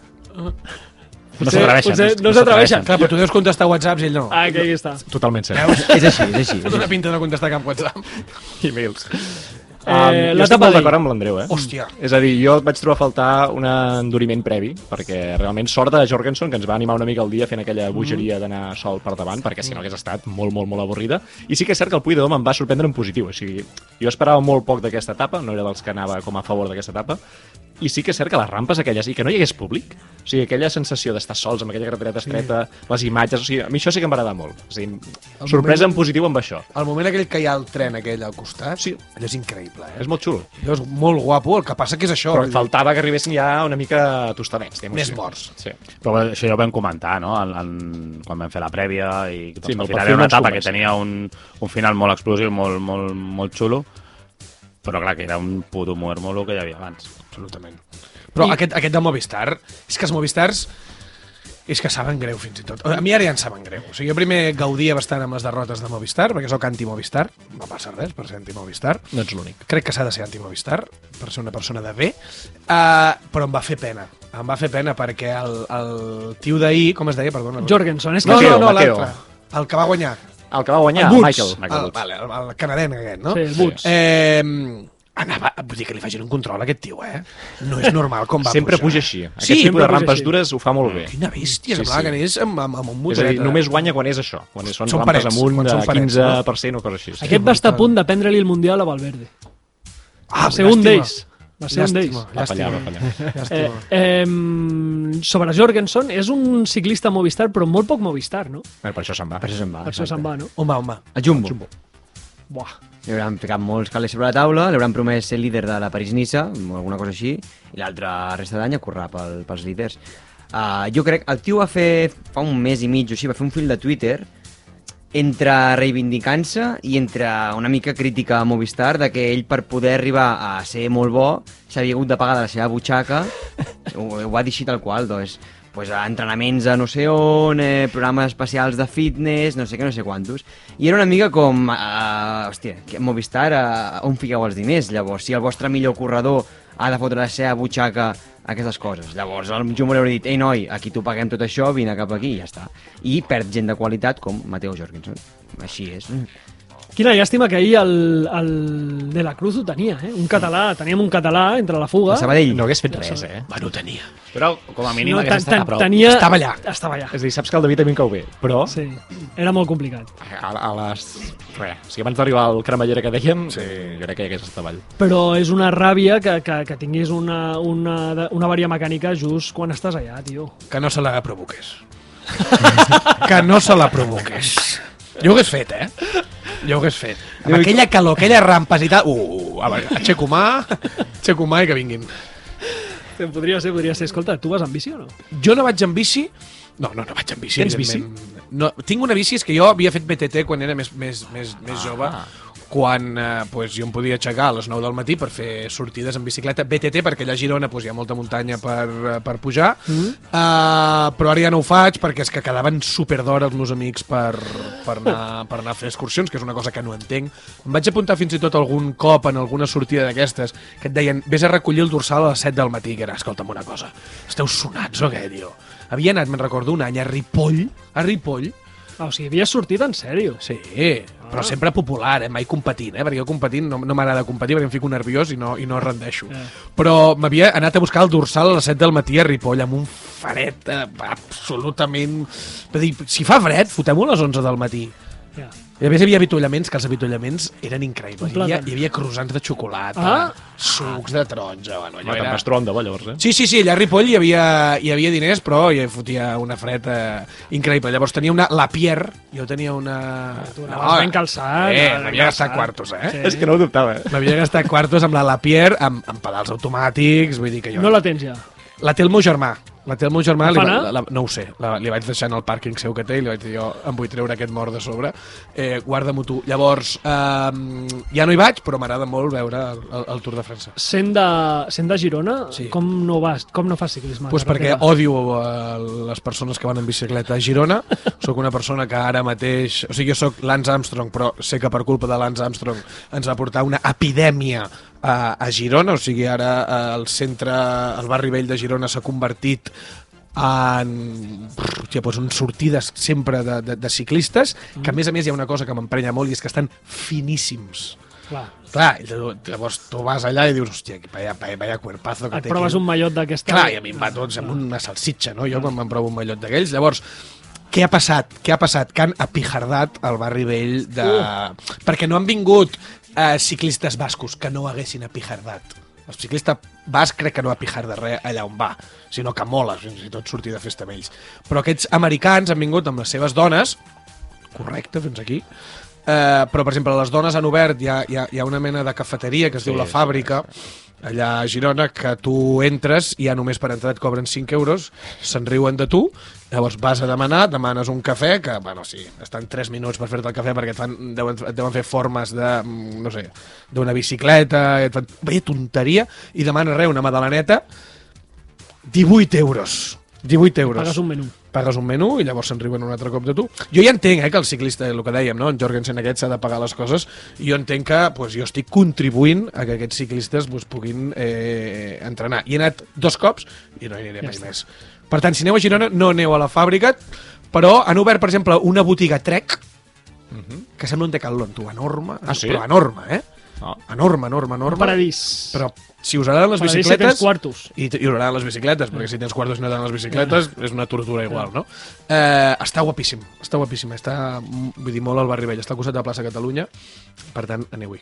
Speaker 2: No s'atreveixen.
Speaker 1: potser
Speaker 2: no
Speaker 1: No s'atreveixen.
Speaker 3: Clar, però tu deus contestar whatsapps i ell no.
Speaker 1: Ah, que aquí està.
Speaker 2: Totalment cert.
Speaker 3: Veus?
Speaker 6: És així, és així.
Speaker 3: Té una pinta de no contestar cap whatsapp.
Speaker 2: E-mails.
Speaker 1: Eh,
Speaker 2: jo estic
Speaker 1: l'etapa
Speaker 2: molt
Speaker 1: d'ahir.
Speaker 2: d'acord amb l'Andreu, eh?
Speaker 3: Hòstia.
Speaker 2: És a dir, jo et vaig trobar a faltar un enduriment previ, perquè realment sort de Jorgensen, que ens va animar una mica el dia fent aquella bogeria d'anar sol per davant, perquè si no hagués estat molt, molt, molt avorrida. I sí que és cert que el Puigdemont em va sorprendre en positiu. O sigui, jo esperava molt poc d'aquesta etapa, no era dels que anava com a favor d'aquesta etapa, i sí que és cert que les rampes aquelles, i que no hi hagués públic, o sigui, aquella sensació d'estar sols amb aquella carretera estreta, les imatges, o sigui, a mi això sí que em va agradar molt. O sigui, sorpresa en positiu amb això.
Speaker 3: El moment aquell que hi ha el tren aquell al costat,
Speaker 2: Sí.
Speaker 3: allò és increïble, eh?
Speaker 2: És molt xulo.
Speaker 3: Allò és molt guapo, el que passa que és això.
Speaker 2: Però
Speaker 3: vull dir,
Speaker 2: faltava que arribessin ja una mica tostadets. diguem-ho
Speaker 3: Més
Speaker 2: així.
Speaker 3: morts.
Speaker 2: Sí.
Speaker 4: Però bé, això ja ho vam comentar, no?, en, en, quan vam fer la prèvia i doncs,
Speaker 2: Sí,
Speaker 4: sí,
Speaker 2: amb el perfil
Speaker 4: al final era
Speaker 2: no
Speaker 4: una
Speaker 2: ens
Speaker 4: etapa que
Speaker 2: convenç.
Speaker 4: tenia un, un final molt explosiu, molt, molt, molt xulo, però clar, que era un puto muermo el que hi havia abans.
Speaker 3: Absolutament. Però I... aquest, aquest de Movistar, és que els Movistars és que saben greu, fins i tot. A mi ara ja en saben greu. O sigui, jo primer gaudia bastant amb les derrotes de Movistar, perquè sóc anti-Movistar. No passa res per ser anti-Movistar.
Speaker 2: No ets l'únic.
Speaker 3: Crec que s'ha de ser anti-Movistar, per ser una persona de bé. Uh, però em va fer pena. Em va fer pena perquè el, el tio d'ahir, com es deia, perdona?
Speaker 1: Jorgensen, és que...
Speaker 3: No, no,
Speaker 2: Mateo,
Speaker 3: no,
Speaker 2: Mateo.
Speaker 3: l'altre. El que va guanyar.
Speaker 2: El que va guanyar,
Speaker 3: El Woods.
Speaker 2: Michael.
Speaker 4: Michael
Speaker 3: el,
Speaker 4: Woods.
Speaker 3: vale, el, el canadenc aquest, no?
Speaker 1: Sí, el Woods.
Speaker 3: Eh, anava, vull dir que li facin un control a aquest tio, eh? No és normal com va
Speaker 2: Sempre puja
Speaker 3: pujar.
Speaker 2: així. Aquest
Speaker 3: Sí,
Speaker 2: tipus de
Speaker 1: puja
Speaker 2: rampes
Speaker 1: així.
Speaker 2: dures ho fa molt bé.
Speaker 3: Ah, Quina
Speaker 2: Sí,
Speaker 3: bèstia, sí, semblava
Speaker 2: sí.
Speaker 3: que anés amb, amb, amb un
Speaker 2: És a
Speaker 3: motoret. eh?
Speaker 2: dir, només guanya quan és això. Quan són,
Speaker 3: Són
Speaker 2: rampes
Speaker 3: parets,
Speaker 2: amunt eh,
Speaker 3: quan
Speaker 2: de
Speaker 3: són parets,
Speaker 2: 15% o coses així. sí.
Speaker 1: Aquest va estar a punt de prendre-li el Mundial a Valverde.
Speaker 3: Ah,
Speaker 1: Va ser un d'ells. Va ser un d'ells.
Speaker 3: Llàstima,
Speaker 2: Va fallar, va fallar.
Speaker 1: Eh, eh, sobre Jorgensen, és un ciclista Movistar, però molt poc Movistar, no?
Speaker 2: Bueno, per això se'n va.
Speaker 6: Per això se'n va.
Speaker 1: Per això
Speaker 6: exacte.
Speaker 1: se'n va, no?
Speaker 3: Home, home.
Speaker 6: A Jumbo.
Speaker 1: Buah.
Speaker 6: Li hauran ficat molts calés sobre la taula, li hauran promès ser líder de la París-Nissa, o alguna cosa així, i l'altra resta d'any a currar pel, pels líders. Uh, jo crec, el tio va fer, fa un mes i mig o així, va fer un fil de Twitter entre reivindicant-se i entre una mica crítica a Movistar de que ell per poder arribar a ser molt bo s'havia hagut de pagar de la seva butxaca ho, ho va dir així tal qual, doncs pues, a entrenaments a no sé on, eh, programes especials de fitness, no sé què, no sé quantos. I era una mica com, uh, hòstia, que Movistar, uh, on fiqueu els diners? Llavors, si el vostre millor corredor ha de fotre la seva butxaca aquestes coses. Llavors, el Jumbo li hauria dit, ei noi, aquí t'ho paguem tot això, vine cap aquí i ja està. I perd gent de qualitat com Mateo Jorgensen. Així és.
Speaker 1: Quina llàstima que ahir el, el de la Cruz ho tenia, eh? Un català, teníem un català entre la fuga.
Speaker 6: A Sabadell.
Speaker 2: No hagués fet res, eh?
Speaker 3: Bueno, tenia.
Speaker 4: Però, com a mínim,
Speaker 1: No,
Speaker 4: no, hagués
Speaker 1: ten,
Speaker 4: estat
Speaker 1: ten,
Speaker 4: a prop.
Speaker 1: tenia...
Speaker 3: Estava allà.
Speaker 1: Estava allà.
Speaker 2: És a dir, saps que el David a mi em cau bé, però sí.
Speaker 1: Sí, era molt complicat.
Speaker 2: a, a les... Re, o sigui, abans d'arribar al cremallera que dèiem, sí. jo crec que hi hagués estat avall.
Speaker 1: Però és una ràbia que, que, que tinguis una, una, una varia mecànica just quan estàs allà, tio.
Speaker 3: Que no se la provoqués. que no se la provoqués. Jo ho hagués fet, eh? Jo ho hagués fet. Amb aquella calor, aquelles rampes i tal... Uh, a veure, aixeco mà, aixeco mà i que vinguin.
Speaker 1: Podria ser, podria ser. Escolta, tu vas amb bici o no?
Speaker 3: Jo no vaig amb bici... No, no, no vaig amb bici,
Speaker 2: Tens
Speaker 3: evidentment. No, tinc una bici, és que jo havia fet BTT quan era més, més, més, més jove, quan eh, pues, jo em podia aixecar a les 9 del matí per fer sortides en bicicleta. BTT, perquè allà a Girona pues, hi ha molta muntanya per, eh, per pujar, mm. uh, però ara ja no ho faig perquè és que quedaven super d'hora els meus amics per, per, anar, per anar a fer excursions, que és una cosa que no entenc. Em vaig apuntar fins i tot algun cop en alguna sortida d'aquestes que et deien vés a recollir el dorsal a les 7 del matí, que era, escolta'm una cosa, esteu sonats o què, tio? Havia anat, me'n recordo, un any a Ripoll, a Ripoll,
Speaker 1: Ah, o sigui, havies sortit en sèrio.
Speaker 3: Sí, però sempre popular, eh? mai competint, eh? perquè jo competint no, no m'agrada competir perquè em fico nerviós i no, i no rendeixo.
Speaker 1: Eh.
Speaker 3: Però m'havia anat a buscar el dorsal a les 7 del matí a Ripoll amb un fred eh, absolutament... Vull dir, si fa fred, fotem-ho a les 11 del matí.
Speaker 1: Ja.
Speaker 3: I a més hi havia avituallaments, que els avituallaments eren
Speaker 1: Un
Speaker 3: increïbles. Hi havia,
Speaker 1: plàtan.
Speaker 3: hi havia croissants de xocolata,
Speaker 1: Ah.
Speaker 3: sucs de taronja... Bueno, allò
Speaker 2: Home, te'n
Speaker 3: era...
Speaker 2: vas tronda, bo, llavors, eh?
Speaker 3: Sí, sí, sí, allà a Ripoll hi havia, hi havia diners, però hi fotia una freda increïble. Llavors tenia una La Pierre, jo tenia una... Ah,
Speaker 1: Tu anaves ben calçat.
Speaker 3: Eh,
Speaker 1: ben
Speaker 3: m'havia
Speaker 1: calçat.
Speaker 3: gastat quartos, eh?
Speaker 1: Sí.
Speaker 2: És que no ho dubtava, eh?
Speaker 3: M'havia gastat quartos amb la La Pierre, amb, amb pedals automàtics, vull dir que jo...
Speaker 1: No la tens ja.
Speaker 3: La té el meu germà. La té el meu germà,
Speaker 1: La
Speaker 3: li
Speaker 1: fa
Speaker 3: va,
Speaker 1: anar?
Speaker 3: la, la, no ho sé, la, li vaig deixar en el pàrquing seu que té i li vaig dir jo em vull treure aquest mort de sobre, eh, guarda-m'ho tu. Llavors, eh, ja no hi vaig, però m'agrada molt veure el, el, el Tour de França.
Speaker 1: Sent de, sent de Girona,
Speaker 3: Sí.
Speaker 1: com no vas, com no fas ciclisme?
Speaker 3: Pues perquè
Speaker 1: carretera?
Speaker 3: odio eh, les persones que van en bicicleta a Girona. Sóc una persona que ara mateix... O sigui, jo sóc Lance Armstrong, però sé que per culpa de Lance Armstrong ens va portar una epidèmia a, a Girona. O sigui, ara eh, el centre, el barri vell de Girona s'ha convertit en hòstia, doncs en sortides sempre de, de, de ciclistes, que a
Speaker 1: Mm.
Speaker 3: més a més hi ha una cosa que m'emprenya molt i és que estan finíssims.
Speaker 1: Clar.
Speaker 3: Clar, i llavors tu vas allà i dius, hòstia, vaya, vaya, vaya cuerpazo que
Speaker 1: Et
Speaker 3: té
Speaker 1: proves
Speaker 3: aquí.
Speaker 1: un mallot d'aquesta...
Speaker 3: Clar, i a mi em va tots amb una salsitxa, no? Jo quan me'n provo un mallot d'aquells. Llavors, què ha passat? Què ha passat? Que han apijardat el barri vell de... Uh. Perquè no han vingut eh, ciclistes bascos que no haguessin apijardat. El ciclista basc crec que no apijarda res allà on va, sinó que mola, fins i tot sortir de festa amb ells. Però aquests americans han vingut amb les seves dones, correcte, fins aquí, eh, però, per exemple, les dones han obert, hi ha, hi ha, hi ha una mena de cafeteria que es sí, diu La Fàbrica, allà a Girona, que tu entres i ja només per entrar et cobren 5 euros, se'n riuen de tu, llavors vas a demanar, demanes un cafè, que, bueno, sí, estan 3 minuts per fer-te el cafè perquè et, fan, deuen, et deuen fer formes de, mm, no sé, d'una bicicleta, i et fan... Veia tonteria, i demanes res, una madalaneta, 18 euros. 18 euros
Speaker 1: Pagues un menú.
Speaker 3: pagues un menú i llavors se'n riuen un altre cop de tu. Jo ja entenc eh, que el ciclista, el que dèiem, no? en Jorgensen aquest s'ha de pagar les coses, i jo entenc que pues, jo estic contribuint a que aquests ciclistes pues, puguin eh, entrenar. Hi he anat dos cops i no hi aniré
Speaker 1: Ja
Speaker 3: ja mai
Speaker 1: està.
Speaker 3: més. Per tant, si aneu a Girona, no aneu a la fàbrica, però han obert, per exemple, una botiga Trek,
Speaker 1: Mhm.
Speaker 3: que sembla un decathlon, tu, enorme,
Speaker 2: Ah, sí?
Speaker 3: però enorme, eh?
Speaker 2: Ah.
Speaker 3: Enorme, enorme, enorme.
Speaker 1: Paradís.
Speaker 3: Però si us agraden les
Speaker 1: Paradís si tens
Speaker 3: bicicletes...
Speaker 1: quartos.
Speaker 3: I, t- i us agraden les bicicletes, perquè si tens quartos i no t'agraden les bicicletes,
Speaker 2: Mm.
Speaker 3: és una tortura igual, no? Eh, està guapíssim, està guapíssim. Està, mm, vull dir, molt al barri vell. Està al costat de la plaça Catalunya, per tant, aneu-hi.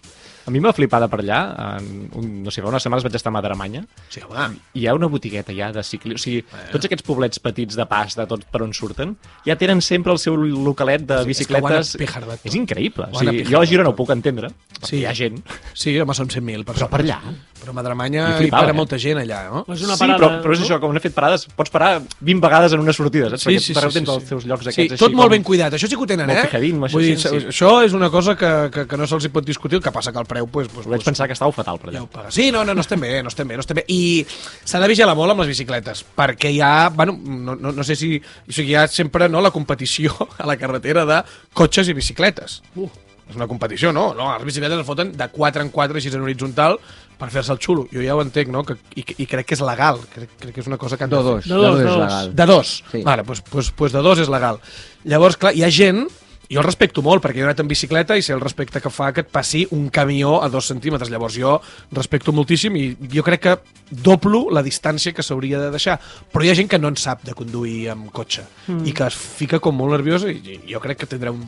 Speaker 2: A mi m'ha flipada per allà. En un, no sé, fa unes setmanes vaig estar a Madremanya
Speaker 3: Sí, home.
Speaker 2: i hi ha una botigueta ja de ciclistes. O sigui, tots aquests poblets petits de pas, de tot per on surten, ja tenen sempre el seu localet de
Speaker 3: Sí, és que eh, ho han
Speaker 2: bicicletes.
Speaker 3: apijardat tot.
Speaker 2: és increïble.
Speaker 3: Ho
Speaker 2: O
Speaker 3: han
Speaker 2: sigui,
Speaker 3: apijardat
Speaker 2: jo a Girona
Speaker 3: tot.
Speaker 2: ho puc entendre, perquè
Speaker 3: Sí.
Speaker 2: hi ha gent
Speaker 3: Sí, home, són 100.000
Speaker 2: Però
Speaker 3: persones.
Speaker 2: per allà?
Speaker 3: Però a Madremanya
Speaker 2: Jo
Speaker 3: hi
Speaker 2: flipava,
Speaker 3: para
Speaker 2: eh?
Speaker 3: molta gent allà, no?
Speaker 1: És
Speaker 2: És
Speaker 1: una
Speaker 2: una sí,
Speaker 1: parada,
Speaker 2: però, però és
Speaker 1: no?
Speaker 2: això, com han fet parades, pots parar 20 vegades en una sortida, saps? Perquè arreu tens els teus llocs
Speaker 3: sí,
Speaker 2: aquests així
Speaker 3: tot molt
Speaker 2: com-
Speaker 3: ben cuidat. Això sí que ho tenen,
Speaker 2: molt
Speaker 3: eh?
Speaker 2: picadín, això
Speaker 3: Vull dir,
Speaker 2: sí, sí.
Speaker 3: això és una cosa que, que, que no se'ls hi pot discutir, el que passa que el preu... Pues, pues,
Speaker 2: Vaig
Speaker 3: pues,
Speaker 2: pensar que estava fatal per allà.
Speaker 3: Ja ho paga. Sí, no, no, no estem bé, no estem bé, no estem bé. I s'ha de vigilar molt amb les bicicletes, perquè hi ha, bueno, no, no, no sé si... O sigui, hi ha sempre no, la competició a la carretera de cotxes i bicicletes. Uh. És una competició, no? no? Les bicicletes es foten de 4 en 4, així en horitzontal, per fer-se el xulo. Jo ja ho entenc, no? Que, i, i crec que és legal, crec, crec que és una cosa que han
Speaker 6: De
Speaker 3: de fer.
Speaker 6: dos,
Speaker 1: De
Speaker 6: de
Speaker 1: dos,
Speaker 6: dos,
Speaker 1: de
Speaker 6: és
Speaker 1: dos.
Speaker 6: legal.
Speaker 3: De dos.
Speaker 6: Sí.
Speaker 3: Sí. Vale, doncs, doncs, doncs de dos és legal. Llavors, clar, hi ha gent jo el respecto molt, perquè jo he anat en bicicleta i sé el respecte que fa que et passi un camió a dos centímetres. Llavors jo respecto moltíssim i jo crec que doblo la distància que s'hauria de deixar. Però hi ha gent que no en sap de conduir amb cotxe mm. i que es fica com molt nerviosa i i jo crec que tindrà un,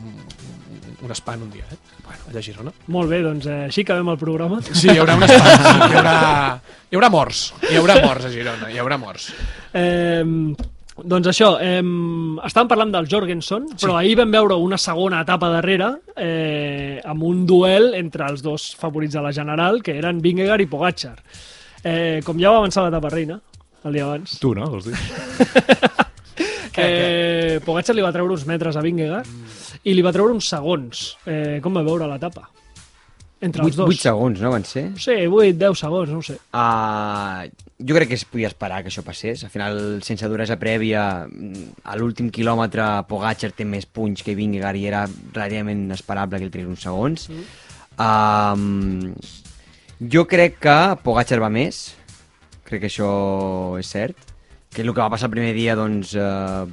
Speaker 3: un espant un dia, eh? Bueno, allà a Girona.
Speaker 1: Molt bé, doncs eh, així acabem el programa.
Speaker 3: Sí, hi haurà un espant. hi, haurà, hi haurà morts. Hi haurà morts a Girona. Hi haurà morts.
Speaker 1: Eh, doncs això, eh, estàvem parlant del Jorgensen, però ahir vam veure una segona etapa darrere eh, amb un duel entre els dos favorits de la General, que eren Vingegaard i Pogacar. Eh, com ja va avançar l'etapa reina, el dia abans,
Speaker 2: Tu, no? Vols dir?
Speaker 1: eh, Pogacar li va treure uns metres a Vingegaard i li va treure uns segons. Eh, com va veure l'etapa? Entre els
Speaker 6: 8,
Speaker 1: dos.
Speaker 6: 8 segons, no van ser?
Speaker 1: Sí, 8, 10 segons, no ho sé.
Speaker 6: Uh, jo crec que es podia esperar que això passés. Al final, sense duresa prèvia, mm, a l'últim quilòmetre Pogacar té més punts que Vingegaard i era relativament esperable que el trigués uns segons. Mm. jo crec que Pogacar va més. Crec que això és cert. Que el que va passar el primer dia, doncs, uh,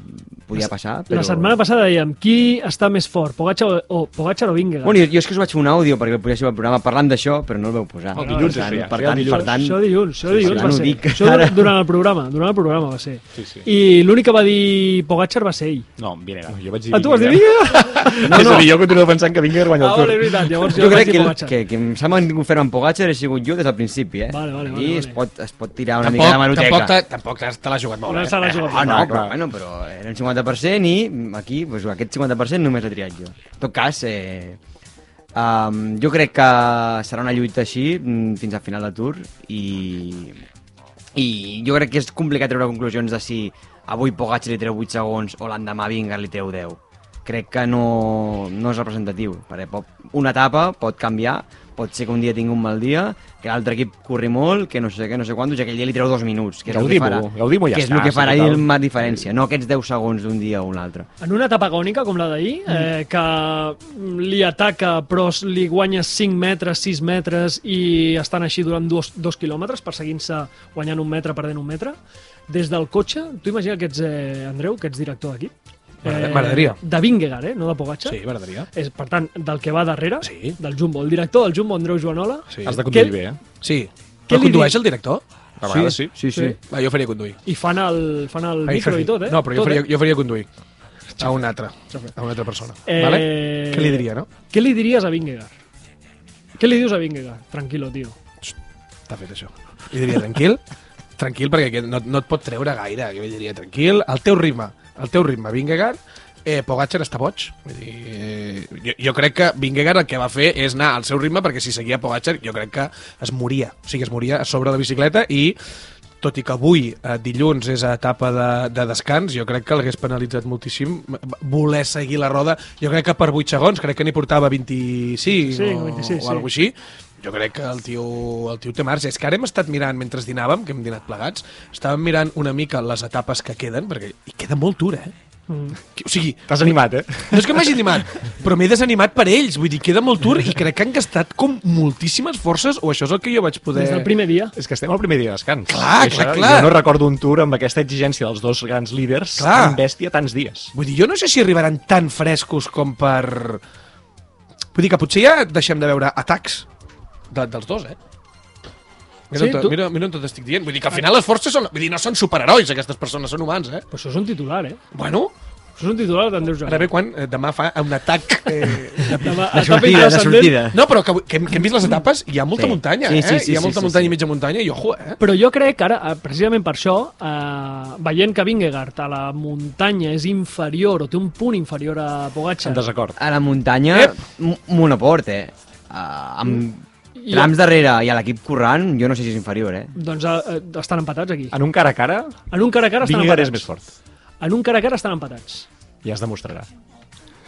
Speaker 6: podia passar.
Speaker 1: Però...
Speaker 6: Però...
Speaker 1: La setmana passada dèiem, qui està més fort, Pogacar o, o, Pogacar o Vingegaard?
Speaker 6: Bueno, jo, jo és que us vaig fer un àudio perquè el poséssim al programa parlant d'això, però no el vau posar.
Speaker 2: El dilluns
Speaker 6: Per tant,
Speaker 2: es feia, es
Speaker 6: per
Speaker 2: feia el
Speaker 6: tant,
Speaker 2: dilluns.
Speaker 6: per tant,
Speaker 1: Això dilluns, això
Speaker 6: Sí,
Speaker 1: dilluns
Speaker 6: sí,
Speaker 1: va
Speaker 6: no ho
Speaker 1: ser.
Speaker 6: dic,
Speaker 1: això
Speaker 6: ara.
Speaker 1: durant el programa, durant el programa va ser.
Speaker 2: Sí, sí.
Speaker 1: I l'únic que va dir Pogacar va ser ell.
Speaker 4: No, Vingegaard.
Speaker 2: Jo vaig dir...
Speaker 1: Ah, tu vas dir
Speaker 2: Vingegaard.
Speaker 1: Vingegaard?
Speaker 2: No, no. És a dir, jo continuo pensant que Vingegaard
Speaker 1: Ah,
Speaker 2: guanya el Tour.
Speaker 1: vale, és veritat, llavors jo,
Speaker 6: Jo crec
Speaker 1: vaig
Speaker 6: que,
Speaker 1: dir
Speaker 6: el,
Speaker 1: Pogacar.
Speaker 6: que, que em sembla que confirma en Pogacar he sigut jo des del principi, eh?
Speaker 1: Vale, vale, vale,
Speaker 6: I es
Speaker 1: vale.
Speaker 6: pot, es pot tirar una mica de
Speaker 3: Tampoc,
Speaker 6: manoteca.
Speaker 3: tampoc, te, tampoc te- te l'has jugat molt,
Speaker 1: No
Speaker 3: eh?
Speaker 1: se l'ha jugat.
Speaker 6: Ah, no,
Speaker 2: Clar,
Speaker 6: però,
Speaker 2: clar.
Speaker 6: bueno, però era un 50% i mm, aquí doncs, aquest 50% només l'he triat jo. En tot cas, eh, um, jo crec que serà una lluita així mm, fins al final de tour i, i jo crec que és complicat treure conclusions de si avui Pogacar li treu 8 segons o l'endemà Vingar li treu 10. Crec que no, no és representatiu, perquè pot, una etapa pot canviar, pot ser que un dia tingui un mal dia, que l'altre equip corri molt, que no sé què, no sé quantos, i aquell dia li treu dos minuts, que és el que
Speaker 2: Gaudim-ho,
Speaker 6: farà.
Speaker 2: gaudim-ho i ja
Speaker 6: que és el
Speaker 2: està,
Speaker 6: que
Speaker 2: sí,
Speaker 6: farà
Speaker 2: total.
Speaker 6: ahir el una diferència, no aquests 10 segons d'un dia o un altre.
Speaker 1: En una etapa agònica com la d'ahir,
Speaker 6: Mm.
Speaker 1: eh, que li ataca però s- li guanya 5 metres, 6 metres i estan així durant dos, dos quilòmetres perseguint-se, guanyant un metre, perdent un metre, des del cotxe, tu imagina que ets, eh, Andreu, que ets director d'equip?
Speaker 3: M'agrada- m'agradaria.
Speaker 1: De Vingegaard, eh? No de Pogacar.
Speaker 3: Sí, m'agradaria.
Speaker 1: És, per tant, del que va darrere,
Speaker 3: Sí.
Speaker 1: del Jumbo. El director del Jumbo, Andreu Joanola,
Speaker 3: Sí.
Speaker 2: Has de conduir
Speaker 1: Què-
Speaker 2: bé, eh?
Speaker 3: Sí.
Speaker 1: Què
Speaker 3: Però
Speaker 1: li
Speaker 3: condueix
Speaker 1: dic?
Speaker 3: el director?
Speaker 2: A vegades sí.
Speaker 6: Sí, sí.
Speaker 3: Va, jo faria conduir.
Speaker 1: i fan el, fan el
Speaker 3: Ai,
Speaker 1: micro
Speaker 3: Ferri.
Speaker 1: i tot, eh?
Speaker 3: No, però jo
Speaker 1: Tot,
Speaker 3: faria,
Speaker 1: eh?
Speaker 3: jo faria conduir. A una altra. A una altra persona.
Speaker 1: Eh,
Speaker 3: Vale? Què li diria, no?
Speaker 1: Què li diries a Vingegaard? Què li dius a Vingegaard? Tranquilo, tio.
Speaker 3: T'ha fet això. Li diria, tranquil, tranquil, perquè aquest no, no et pot treure gaire. Jo li diria, tranquil, al teu ritme, al teu ritme, Vingegaard, eh, Pogacar està boig. Vull dir, eh, jo, jo crec que Vingegaard el que va fer és anar al seu ritme, perquè si seguia Pogacar jo crec que es moria. O sigui, es moria a sobre la bicicleta i tot i que avui, eh, dilluns, és a etapa de, de descans, jo crec que l'hagués penalitzat moltíssim voler seguir la roda. Jo crec que per 8 segons, crec que n'hi portava 25
Speaker 1: Sí, 26,
Speaker 3: o, 26,
Speaker 1: sí.
Speaker 3: o alguna així. Jo crec que el tio, el tio té marge. És que ara hem estat mirant, mentre dinàvem, que hem dinat plegats, estàvem mirant una mica les etapes que queden, perquè hi queda molt dura, eh? Mm. O sigui,
Speaker 2: T'has animat, eh?
Speaker 3: no és que m'hagi animat, però m'he desanimat per ells. Vull dir, queda molt dur i crec que han gastat com moltíssimes forces, o això és el que jo vaig poder...
Speaker 1: Des del primer dia.
Speaker 2: És que estem al primer dia de descans.
Speaker 3: Clar,
Speaker 2: I això,
Speaker 3: clar, clar.
Speaker 2: Jo no recordo un tour amb aquesta exigència dels dos grans líders
Speaker 3: Clar.
Speaker 2: tan bèstia tants dies.
Speaker 3: Vull dir, jo no sé si arribaran tan frescos com per... Vull dir que potser ja deixem de veure atacs de, dels dos, eh? Mira,
Speaker 1: Sí,
Speaker 3: on,
Speaker 1: tu-
Speaker 3: tu... mira, mira on tot estic dient. Vull dir que al final les forces són... Vull dir, no són superherois aquestes persones, són humans, eh?
Speaker 1: Però això és un titular, eh?
Speaker 3: Bueno,
Speaker 1: Això és un titular d'Andreu
Speaker 3: ara
Speaker 1: Joanola.
Speaker 3: ve quan eh, demà fa un atac... Eh,
Speaker 1: Demà,
Speaker 6: La
Speaker 1: etapa
Speaker 6: sortida, la
Speaker 1: intrascendent,
Speaker 6: sortida.
Speaker 3: No, però que, que, hem, que hem vist les etapes i hi ha molta
Speaker 6: Sí.
Speaker 3: sí. muntanya,
Speaker 6: Sí,
Speaker 3: eh?
Speaker 6: sí, sí,
Speaker 3: hi ha
Speaker 6: sí,
Speaker 3: molta
Speaker 6: sí,
Speaker 3: muntanya
Speaker 6: sí.
Speaker 3: i mitja muntanya i ojo, eh?
Speaker 1: Però jo crec que ara, eh, precisament per això, eh, veient que Vingegaard a la muntanya és inferior o té un punt inferior a Pogacar,
Speaker 2: En desacord.
Speaker 6: A la muntanya,
Speaker 3: Ep!
Speaker 6: m- monoport, eh? Uh, amb
Speaker 1: I-
Speaker 6: Trams darrere i a l'equip corrent, jo no sé si és inferior, eh?
Speaker 1: Doncs eh, estan empatats aquí.
Speaker 2: En un cara a cara,
Speaker 1: En un cara a cara estan
Speaker 2: Vingegaard
Speaker 1: empatats.
Speaker 2: és més fort.
Speaker 1: En un cara a cara estan empatats.
Speaker 2: Ja es demostrarà.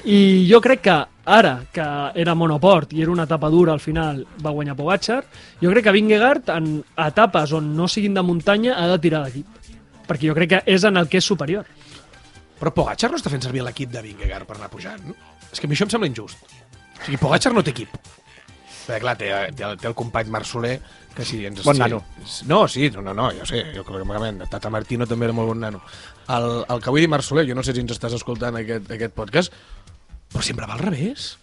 Speaker 1: I jo crec que ara, que era monoport i era una etapa dura al final, va guanyar Pogacar, jo crec que Vingegaard en etapes on no siguin de muntanya ha de tirar d'equip. Perquè jo crec que és en el que és superior.
Speaker 3: Però Pogacar no està fent servir l'equip de Vingegaard per anar pujant. no? És que a mi això em sembla injust. O sigui, Pogacar no té equip. Perquè, clar, té, té, el, té el company Marc Soler, que si ens...
Speaker 2: Bon
Speaker 3: sí,
Speaker 2: nano.
Speaker 3: No, sí, no, no, no, jo sé, jo crec que Tata Martino també era molt bon nano. El, el que vull dir, Marc Soler, jo no sé si ens estàs escoltant aquest, aquest podcast, però sempre va al revés.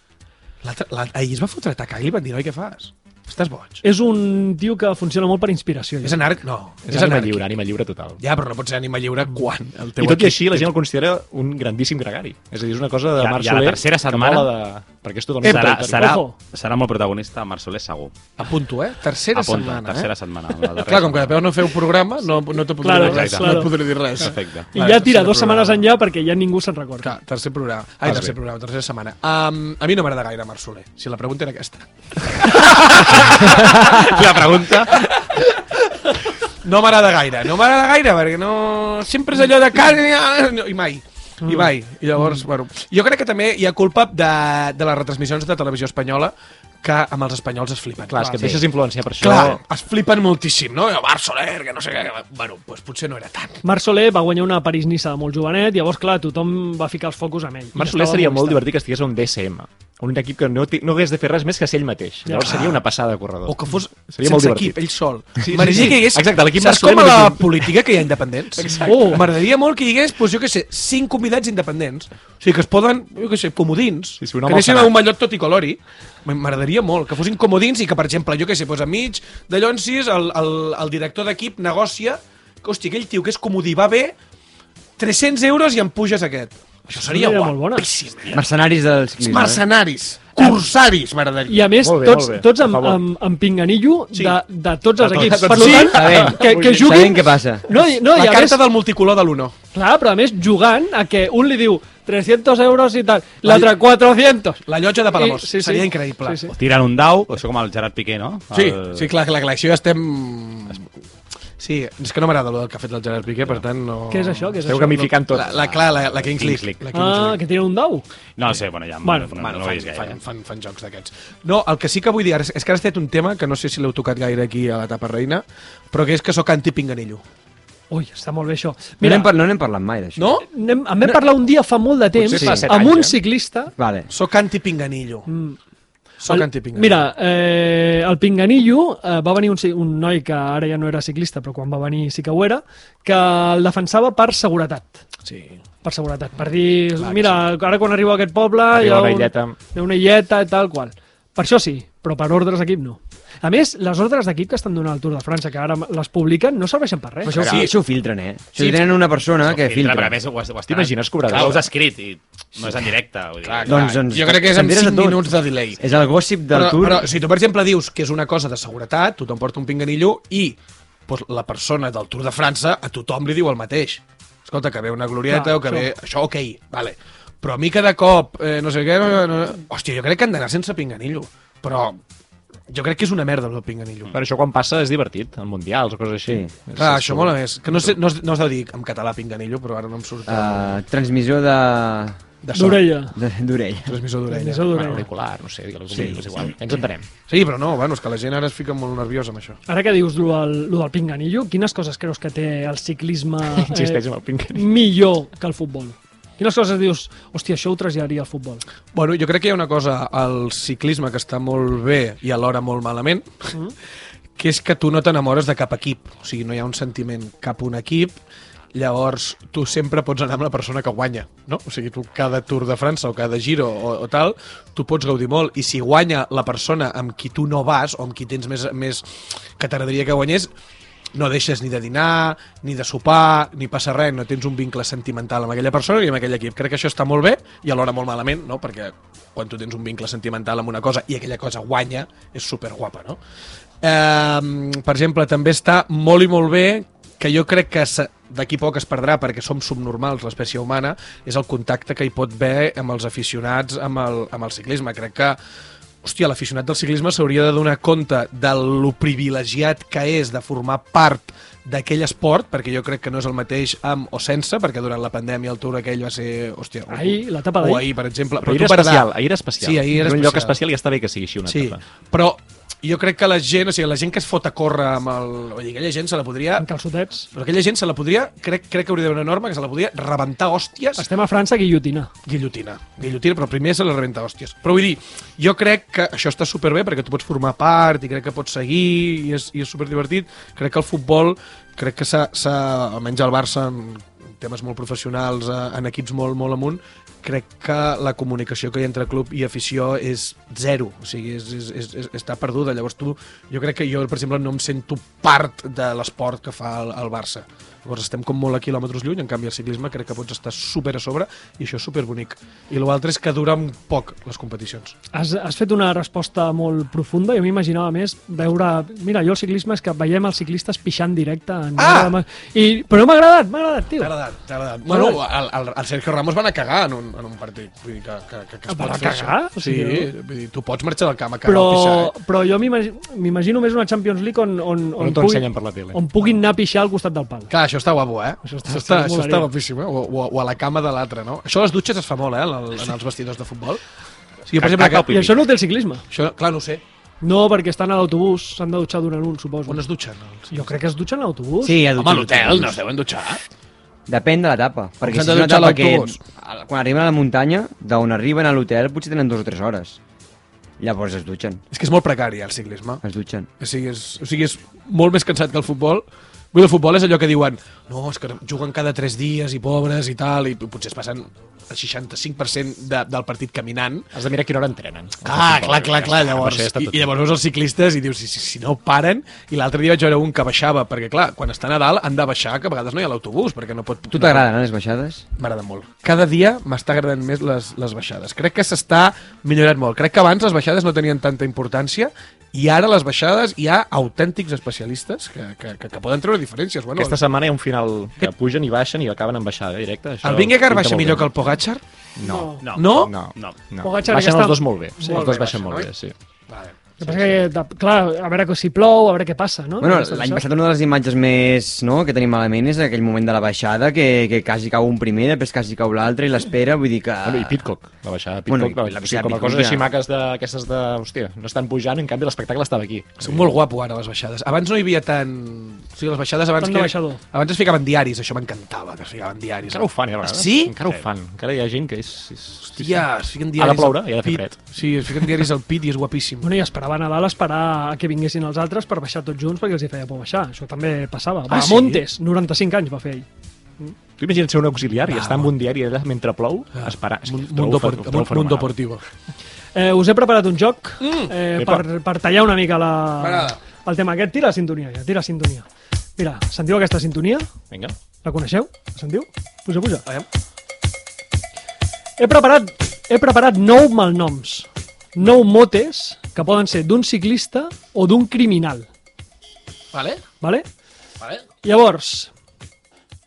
Speaker 3: L'altre- l'al- Ahir es va fotre a atacar i li van dir, oi, què fas? Estàs boig.
Speaker 1: És un tio que funciona molt per inspiració.
Speaker 3: És
Speaker 1: Jo.
Speaker 3: anarc? No,
Speaker 2: És, ànima lliure, ànima lliure total.
Speaker 3: Ja, però no pot ser ànima lliure quan el teu
Speaker 2: I tot i
Speaker 3: equip
Speaker 2: així, la gent el considera un grandíssim gregari. És a dir, és una cosa de
Speaker 4: I a-
Speaker 2: Marc
Speaker 4: i a la
Speaker 2: Soler...
Speaker 4: tercera
Speaker 2: que
Speaker 4: setmana-
Speaker 2: mola De... Perquè és totalment
Speaker 4: Serà,
Speaker 2: voluntari.
Speaker 4: serà,
Speaker 1: Ojo.
Speaker 4: serà molt protagonista Marc Soler, segur.
Speaker 3: Apunto, eh? Tercera
Speaker 4: Apunta,
Speaker 3: setmana,
Speaker 4: tercera
Speaker 3: eh?
Speaker 4: setmana. La darrera
Speaker 3: Clar, com que
Speaker 4: setmana.
Speaker 3: de peu no feu programa, no, no te podré
Speaker 1: Claro,
Speaker 3: dir res.
Speaker 4: exacte.
Speaker 3: No et podré dir res.
Speaker 4: Perfecte.
Speaker 1: I
Speaker 3: Clar,
Speaker 2: doncs
Speaker 1: ja tira
Speaker 3: tercer
Speaker 1: dues
Speaker 3: programa.
Speaker 1: setmanes enllà perquè ja ningú se'n recorda.
Speaker 3: Clar, tercer programa. Ai,
Speaker 2: Vas
Speaker 3: tercer
Speaker 2: bé.
Speaker 3: programa, tercera setmana. Um, a mi no m'agrada gaire Marc Soler, si la pregunta era aquesta.
Speaker 4: La pregunta...
Speaker 3: No m'agrada gaire, no m'agrada gaire, perquè no... Sempre és allò de cara... No, I mai.
Speaker 1: Mm.
Speaker 3: I mai. I llavors, bueno... Jo crec que també hi ha culpa de, de les retransmissions de televisió espanyola que amb els espanyols es flipen.
Speaker 2: Clar, és que et deixes influenciar per això.
Speaker 3: Ah, Clar, es flipen moltíssim, no? Marc Soler, que no sé què... Bueno, doncs potser no era tant.
Speaker 1: Marc Soler va guanyar una París-Nissa de molt jovenet, llavors, clar, tothom va ficar els focus en ell.
Speaker 2: Marc
Speaker 1: I
Speaker 2: Soler
Speaker 1: estava
Speaker 2: seria molt
Speaker 1: molestat.
Speaker 2: divertit que estigués a un DSM, un equip que no, té- no hagués de fer res més que ser ell mateix. Llavors seria una passada de corredor.
Speaker 3: O que fos
Speaker 2: seria
Speaker 3: Seria
Speaker 2: molt
Speaker 3: sense
Speaker 2: divertit.
Speaker 3: equip, ell sol.
Speaker 2: Sí, sí,
Speaker 3: Sí, M'agradaria
Speaker 2: sí.
Speaker 3: que hi hagués...
Speaker 2: Exacte, l'equip
Speaker 3: Saps
Speaker 2: Marc Soler
Speaker 3: com a la
Speaker 2: només un-
Speaker 3: política que hi ha independents? Oh, M'agradaria molt que hi hagués, doncs, jo què sé, cinc convidats independents. O sigui, que es poden, jo què sé, comodins,
Speaker 2: Sí, sí, un home
Speaker 3: que anessin
Speaker 2: al
Speaker 3: a
Speaker 2: Senat.
Speaker 3: un mallot tot i colori. M'agradaria molt que fossin comodins i que, per exemple, jo què sé, doncs a mig d'allò en sis, el, el, el director d'equip negocia que, hòstia, aquell tio que és comodí va bé, 300 euros i em puges aquest. Això seria
Speaker 1: Idea molt bona.
Speaker 3: guapíssim. eh?
Speaker 6: Mercenaris del ciclisme.
Speaker 3: Mercenaris, cursaris, m'agradaria.
Speaker 1: I a més,
Speaker 2: Molt bé,
Speaker 1: tots,
Speaker 2: molt bé,
Speaker 1: tots amb,
Speaker 2: a favor.
Speaker 1: amb, amb pinganillo
Speaker 3: Sí.
Speaker 1: de, de tots els
Speaker 2: tots,
Speaker 1: equips.
Speaker 2: de
Speaker 1: Per
Speaker 2: tots.
Speaker 1: tant,
Speaker 6: Sabem.
Speaker 1: que, que juguin...
Speaker 6: Sabem què passa.
Speaker 1: No, i- no,
Speaker 3: la
Speaker 1: i a
Speaker 3: carta
Speaker 1: més,
Speaker 3: del multicolor de l'Uno.
Speaker 1: Clar, però a més jugant a que un li diu 300 euros i tal, l'altre 400.
Speaker 3: La llotja de Palamós.
Speaker 1: I-
Speaker 3: Sí, sí. Seria increïble.
Speaker 1: Sí, sí.
Speaker 4: Tiren un dau, això com el Gerard Piqué, no?
Speaker 3: Sí,
Speaker 4: El-
Speaker 3: sí, clar, clar, clar. Això ja estem... Sí, és que no m'agrada el que ha fet el Gerard Piqué, per tant no...
Speaker 1: Què és això? Què és
Speaker 2: Esteu
Speaker 1: això?
Speaker 2: gamificant tot.
Speaker 3: La, la, clar, la, la Kings
Speaker 4: Kings
Speaker 3: League.
Speaker 4: League.
Speaker 3: La Kings
Speaker 1: Ah,
Speaker 3: League.
Speaker 1: que tira un dau.
Speaker 4: No sé, bueno, ja...
Speaker 1: Bueno,
Speaker 4: no,
Speaker 3: Bueno,
Speaker 4: no, no ho
Speaker 3: fan,
Speaker 4: veig gaire.
Speaker 3: fan, fan, fan jocs d'aquests. No, el que sí que vull dir ara és- és que ara has tret un tema que no sé si l'heu tocat gaire aquí a l'etapa reina, però que és que sóc anti-pinganillo.
Speaker 1: Ui, està molt bé això.
Speaker 6: No
Speaker 1: Mira,
Speaker 6: n'hem par- no n'hem parlat mai, d'això.
Speaker 3: No?
Speaker 1: anem, en vam parlar un dia fa molt de temps
Speaker 2: Potser fa set
Speaker 1: amb
Speaker 2: anys,
Speaker 1: un
Speaker 2: eh?
Speaker 1: ciclista
Speaker 6: Vale.
Speaker 3: Sóc anti-pinganillo. Mm. Sóc
Speaker 1: El-
Speaker 3: anti-pinganillo.
Speaker 1: Mira, eh, el Pinganillo eh, va venir un, ci- un noi que ara ja no era ciclista, però quan va venir sí que ho era, que el defensava per seguretat.
Speaker 3: Sí.
Speaker 1: Per seguretat, per dir, Clar, mira, sí. ara quan arribo a aquest poble...
Speaker 2: Arriba
Speaker 1: hi ha
Speaker 2: una
Speaker 1: un-
Speaker 2: illeta.
Speaker 1: Hi ha una illeta i tal qual. Per això sí, però per ordres d'equip no. A més, les ordres d'equip que estan donant al Tour de França, que ara les publiquen, no serveixen per res.
Speaker 6: Però això,
Speaker 4: Sí.
Speaker 6: sí. això ho filtren, eh? Això
Speaker 4: Sí.
Speaker 6: sí. tenen una persona
Speaker 3: Ah,
Speaker 6: que
Speaker 4: Perquè
Speaker 6: filtra.
Speaker 4: a més ho, ho estan...
Speaker 2: T'imagines cobrar
Speaker 4: Clar,
Speaker 2: dos?
Speaker 4: ho has escrit i no és en directe. Vull dir.
Speaker 3: Clar, clar.
Speaker 6: Doncs, doncs,
Speaker 3: jo crec que és amb
Speaker 6: t'enteres de
Speaker 3: 5
Speaker 6: tot.
Speaker 3: minuts de delay.
Speaker 6: És el gossip del
Speaker 3: però,
Speaker 6: Tour.
Speaker 3: Però si tu, per exemple, dius que és una cosa de seguretat, tothom porta un pinganillo i doncs, la persona del Tour de França a tothom li diu el mateix. Escolta, que ve una glorieta
Speaker 1: Clar,
Speaker 3: o que
Speaker 1: això.
Speaker 3: ve... Això, ok, vale. Però a mi cada cop, eh, no sé què... No, no, no. Hòstia, jo crec que han d'anar sense pinganillo. Però jo crec que és una merda el pinganillo.
Speaker 2: Per això quan passa és divertit, en mundials o coses així.
Speaker 6: Sí.
Speaker 2: És-
Speaker 3: Clar,
Speaker 2: és
Speaker 3: això
Speaker 2: cool.
Speaker 3: mola més. Que no, sé, no, es, no es deu dir en català pinganillo, però ara no em surt uh,
Speaker 6: Eh, transmissió de...
Speaker 3: de so.
Speaker 1: D'orella.
Speaker 6: de- d'orella.
Speaker 1: Transmissor
Speaker 3: Transmissor d'orella.
Speaker 1: d'orella.
Speaker 2: Bueno, auricular, no sé, digue'l com sí, és igual. Ens entenem.
Speaker 3: Sí, però no, bueno, és que la gent ara es fica molt nerviosa amb això.
Speaker 1: Ara que dius lo del, lo del Pinganillo, quines coses creus que té el ciclisme eh,
Speaker 3: Eh,
Speaker 2: Insisteix amb el Pinganillo.
Speaker 1: millor que el futbol? Quines coses dius, hòstia, això ho traslladaria al futbol?
Speaker 3: Bueno, jo crec que hi ha una cosa al ciclisme que està molt bé i alhora molt malament, mm. que és que tu no t'enamores de cap equip. O sigui, no hi ha un sentiment cap a un equip, llavors tu sempre pots anar amb la persona que guanya, no? O sigui, tu cada Tour de França o cada Giro o, o tal, tu pots gaudir molt i si guanya la persona amb qui tu no vas o amb qui tens més, més que t'agradaria que guanyés, no deixes ni de dinar, ni de sopar, ni passa res, no tens un vincle sentimental amb aquella persona i amb aquell equip. Crec que això està molt bé i alhora molt malament, no? perquè quan tu tens un vincle sentimental amb una cosa i aquella cosa guanya, és superguapa. No? Eh, per exemple, també està molt i molt bé que jo crec que se- d'aquí poc es perdrà perquè som subnormals, l'espècie humana, és el contacte que hi pot haver amb els aficionats, amb el, amb el ciclisme. Crec que hòstia, l'aficionat del ciclisme s'hauria de donar compte de lo privilegiat que és de formar part d'aquell esport, perquè jo crec que no és el mateix amb o sense, perquè durant la pandèmia el tour aquell va ser, hòstia... o-
Speaker 1: Ahir, l'etapa d'ahir.
Speaker 3: O ahir, per exemple.
Speaker 2: Però ahir
Speaker 3: tu
Speaker 2: era
Speaker 3: per
Speaker 2: especial,
Speaker 3: dalt-
Speaker 2: ahir era especial.
Speaker 3: Sí, ahir era
Speaker 2: Era un
Speaker 3: especial.
Speaker 2: lloc especial i està bé que sigui així una
Speaker 3: Sí,
Speaker 2: etapa.
Speaker 3: però jo crec que la gent, o sigui, la gent que es fot a córrer amb el... O sigui, aquella gent se la
Speaker 2: Ah.
Speaker 3: podria...
Speaker 1: En calçotets.
Speaker 3: Però aquella gent se la podria... Crec, crec que hauria d'haver una norma que se la podria rebentar hòsties
Speaker 1: Estem a França, guillotina.
Speaker 3: guillotina. Guillotina, però primer se la rebenta a hòsties. Però vull dir, jo crec que això està superbé perquè tu pots formar part i crec que pots seguir i és, i és superdivertit. Crec que el futbol, crec que s'ha, s'ha- almenys el Barça, en temes molt professionals, eh, en equips molt, molt amunt, crec que la comunicació que hi ha entre club i afició és zero, o sigui, és, és, és, és, està perduda. Llavors tu, jo crec que jo, per exemple, no em sento part de l'esport que fa el, el Barça. Llavors estem com molt a quilòmetres lluny, en canvi el ciclisme crec que pots estar super a sobre i això és superbonic. I l'altre és que dura un poc les competicions.
Speaker 1: Has, has fet una resposta molt profunda. Jo m'imaginava més veure... Mira, jo el ciclisme és que veiem els ciclistes pixant directe. En
Speaker 3: Ah!
Speaker 1: hora de ma- I, però m'ha agradat, m'ha agradat, tio.
Speaker 3: T'ha agradat, t'ha agradat. Bueno, el, el, el Sergio Ramos va anar a cagar en un, en un partit. Vull dir que, que, que, que
Speaker 1: Ah, va
Speaker 3: es pot
Speaker 1: anar a
Speaker 3: fer
Speaker 1: cagar?
Speaker 3: això.
Speaker 1: O
Speaker 3: Sí,
Speaker 1: sigui,
Speaker 3: vull dir, tu pots marxar del camp a cagar
Speaker 1: Però,
Speaker 3: o pixar, eh?
Speaker 1: però jo m'imagi- m'imagino més una Champions League on, on,
Speaker 2: On t'ho ensenyen per la tele.
Speaker 1: on puguin anar a pixar al costat del pal.
Speaker 3: Clar, això està guapo, eh? Això està,
Speaker 1: està-
Speaker 3: això està,
Speaker 1: sí,
Speaker 3: això
Speaker 1: molaria.
Speaker 3: està guapíssim, eh? O, o, o a la cama de l'altre, no? Això a les dutxes es fa molt, eh? En, el, en els vestidors de futbol. O sigui, per exemple,
Speaker 4: Caca o
Speaker 1: I
Speaker 4: pipí.
Speaker 3: que,
Speaker 1: això no ho té el ciclisme.
Speaker 3: això, clar, no ho sé.
Speaker 1: No, perquè estan a l'autobús, s'han de dutxar durant un, suposo.
Speaker 3: On es dutxen? Els...
Speaker 1: Jo crec que es dutxen a l'autobús.
Speaker 6: Sí, a
Speaker 3: Home, a l'hotel no es deuen dutxar.
Speaker 6: Depèn de l'etapa. Perquè
Speaker 3: s'han
Speaker 6: si és
Speaker 3: de
Speaker 6: una
Speaker 3: dutxar
Speaker 6: etapa que...
Speaker 3: l'autobús?
Speaker 6: a- Quan arriben a la muntanya, d'on arriben a l'hotel potser tenen dues o tres hores. Llavors es dutxen.
Speaker 3: És que és molt precari, el ciclisme.
Speaker 6: Es dutxen.
Speaker 3: O sigui, és, o sigui, és molt més cansat que el futbol. Vull dir, el futbol és allò que diuen no, és que juguen cada 3 dies i pobres i tal, i potser es passen el 65% de, del partit caminant.
Speaker 2: Has de mirar a quina hora entrenen.
Speaker 3: Ah, clar, clar, clar, llavors,
Speaker 2: Amb eh? això ja està
Speaker 3: i,
Speaker 2: tot
Speaker 3: i llavors veus els ciclistes i dius, si, si, si no paren, i l'altre dia vaig veure un que baixava, perquè clar, quan estan a dalt han de baixar, que a vegades no hi ha l'autobús, perquè no pot...
Speaker 6: Tu t'agraden, eh, les baixades?
Speaker 3: M'agrada molt. Cada dia m'està agradant més les, les baixades. Crec que s'està millorant molt. Crec que abans les baixades no tenien tanta importància i ara les baixades hi ha autèntics especialistes que, que, que, que poden treure diferències. Bueno,
Speaker 2: Aquesta
Speaker 3: el,
Speaker 2: setmana hi ha un final que pugen i baixen i acaben en baixada directa. Això
Speaker 3: el Vingegaard
Speaker 2: pinta
Speaker 3: baixa
Speaker 2: molt
Speaker 3: millor
Speaker 2: bé.
Speaker 3: que el Pogacar?
Speaker 2: No.
Speaker 4: No.
Speaker 3: No?
Speaker 2: No.
Speaker 4: No.
Speaker 2: no.
Speaker 1: Pogacar
Speaker 2: Baixen
Speaker 1: ja està-
Speaker 2: els dos molt bé.
Speaker 1: Sí.
Speaker 2: els
Speaker 3: Molt bé,
Speaker 2: dos baixen
Speaker 3: baixen,
Speaker 2: molt
Speaker 3: oi?
Speaker 2: bé, sí.
Speaker 3: Vale.
Speaker 1: El que passa que, de, clar, a veure que si plou, a veure què passa, no?
Speaker 6: Bueno,
Speaker 1: Aquesta
Speaker 6: l'any
Speaker 1: baixada.
Speaker 6: passat una de les imatges més no, que tenim malament és aquell moment de la baixada que, que quasi cau un primer, després quasi cau l'altre i l'espera, vull dir que...
Speaker 2: Bueno, i Pitcock, la baixada de Pitcock,
Speaker 6: Bueno,
Speaker 2: bueno,
Speaker 6: i-
Speaker 2: la
Speaker 6: sí,
Speaker 2: baixada, com a
Speaker 6: Pitcock
Speaker 2: coses
Speaker 6: ja.
Speaker 2: així maques d'aquestes de... Hòstia, no estan pujant, en canvi l'espectacle estava aquí.
Speaker 3: És molt guapo ara les baixades. Abans no hi havia tant... O sigui, les baixades abans...
Speaker 1: Tant de baixador.
Speaker 3: Abans es ficaven diaris, això m'encantava, que es ficaven diaris.
Speaker 2: Encara ho fan, eh, a vegades.
Speaker 3: Sí?
Speaker 2: Encara ho fan. Encara hi ha gent que és... és...
Speaker 3: Hòstia, es fiquen
Speaker 2: Ha de
Speaker 3: diaris
Speaker 2: ploure
Speaker 3: al
Speaker 2: i ha de fer
Speaker 3: pit.
Speaker 2: fred.
Speaker 3: Sí, es fiquen diaris al pit i és guapíssim.
Speaker 1: Bueno, i esperaven a dalt esperar a que vinguessin els altres per baixar tots junts perquè els hi feia por baixar. Això també passava.
Speaker 3: Ah,
Speaker 1: Va,
Speaker 3: sí?
Speaker 1: Montes, 95 anys va fer ell.
Speaker 2: Tu imagina't ser un auxiliar i
Speaker 3: Ah,
Speaker 2: estar amb
Speaker 3: no.
Speaker 2: un diari allà mentre plou, esperant. És que ho trobo
Speaker 3: Mundo,
Speaker 2: fe- ho
Speaker 3: Port-
Speaker 2: trobo
Speaker 3: Mundo
Speaker 2: fenomenal.
Speaker 3: Portivo.
Speaker 1: Eh, us he preparat un joc
Speaker 3: Mm.
Speaker 1: eh,
Speaker 2: Epa.
Speaker 1: per, per tallar una mica la,
Speaker 3: M'agrada.
Speaker 1: el tema aquest. Tira la sintonia, ja, tira la sintonia. Mira, sentiu aquesta sintonia?
Speaker 2: Vinga.
Speaker 1: La coneixeu? La sentiu? Puja, puja.
Speaker 3: Aviam.
Speaker 1: He preparat, he preparat nou malnoms, nou motes que poden ser d'un ciclista o d'un criminal.
Speaker 3: Vale?
Speaker 1: Vale?
Speaker 3: Vale?
Speaker 1: Llavors,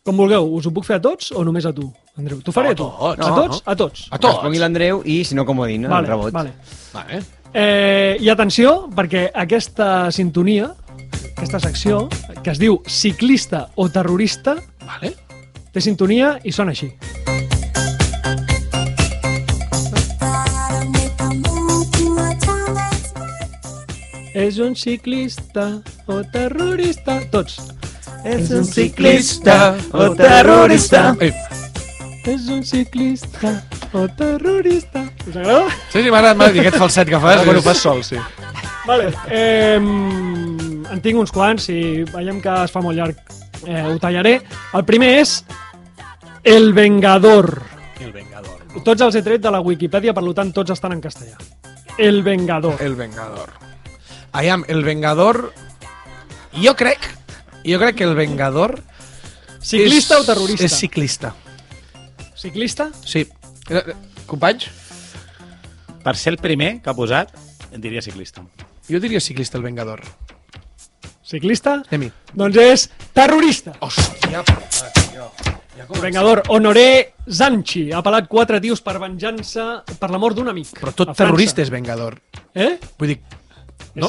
Speaker 1: com vulgueu, us ho puc fer a tots o només a tu, Andreu? T'ho faré
Speaker 3: No,
Speaker 1: a tu.
Speaker 3: a
Speaker 1: a
Speaker 3: tots. No,
Speaker 1: tots?
Speaker 3: no.
Speaker 1: A tots.
Speaker 3: A
Speaker 6: Que
Speaker 3: tots.
Speaker 6: Respongui l'Andreu i, si no, comodina, el rebot.
Speaker 1: Vale.
Speaker 3: Vale.
Speaker 1: Eh, I atenció, perquè aquesta sintonia, aquesta secció, que es diu ciclista o terrorista,
Speaker 3: Vale.
Speaker 1: té sintonia i sona així. És un ciclista o terrorista. Tots. És un
Speaker 3: Ciclista
Speaker 6: o terrorista.
Speaker 3: Ei,
Speaker 1: És un ciclista o terrorista. Us agrada?
Speaker 3: sí, sí, m'agrada m'agrada aquest falset que
Speaker 1: Ah,
Speaker 3: fas.
Speaker 2: Bueno, fas sol, sí.
Speaker 1: Vale. Eh, en tinc uns quants, si veiem que es fa molt llarg eh, ho tallaré. El primer és El Vengador.
Speaker 3: El Vengador.
Speaker 1: Tots els he tret de la Wikipedia, per lo tant tots estan en castellà. El Vengador.
Speaker 3: El Vengador. I am el Vengador... Jo crec... Jo crec que el Vengador...
Speaker 1: Ciclista
Speaker 3: és,
Speaker 1: o terrorista?
Speaker 3: És ciclista.
Speaker 1: Ciclista?
Speaker 3: Sí. Eh, eh, Companys,
Speaker 4: Per ser el primer que ha posat, et diria ciclista.
Speaker 3: jo diria ciclista el Vengador.
Speaker 1: Ciclista?
Speaker 3: Anem-hi.
Speaker 1: Doncs és terrorista.
Speaker 3: Hòstia, per favor, tio. Ja
Speaker 1: El Vengador, honoré Zanchi ha pelat quatre tios per venjança per la mort d'un amic.
Speaker 3: Però
Speaker 1: a
Speaker 3: tot
Speaker 1: França.
Speaker 3: terrorista és vengador.
Speaker 1: Eh?
Speaker 3: Vull dir, no,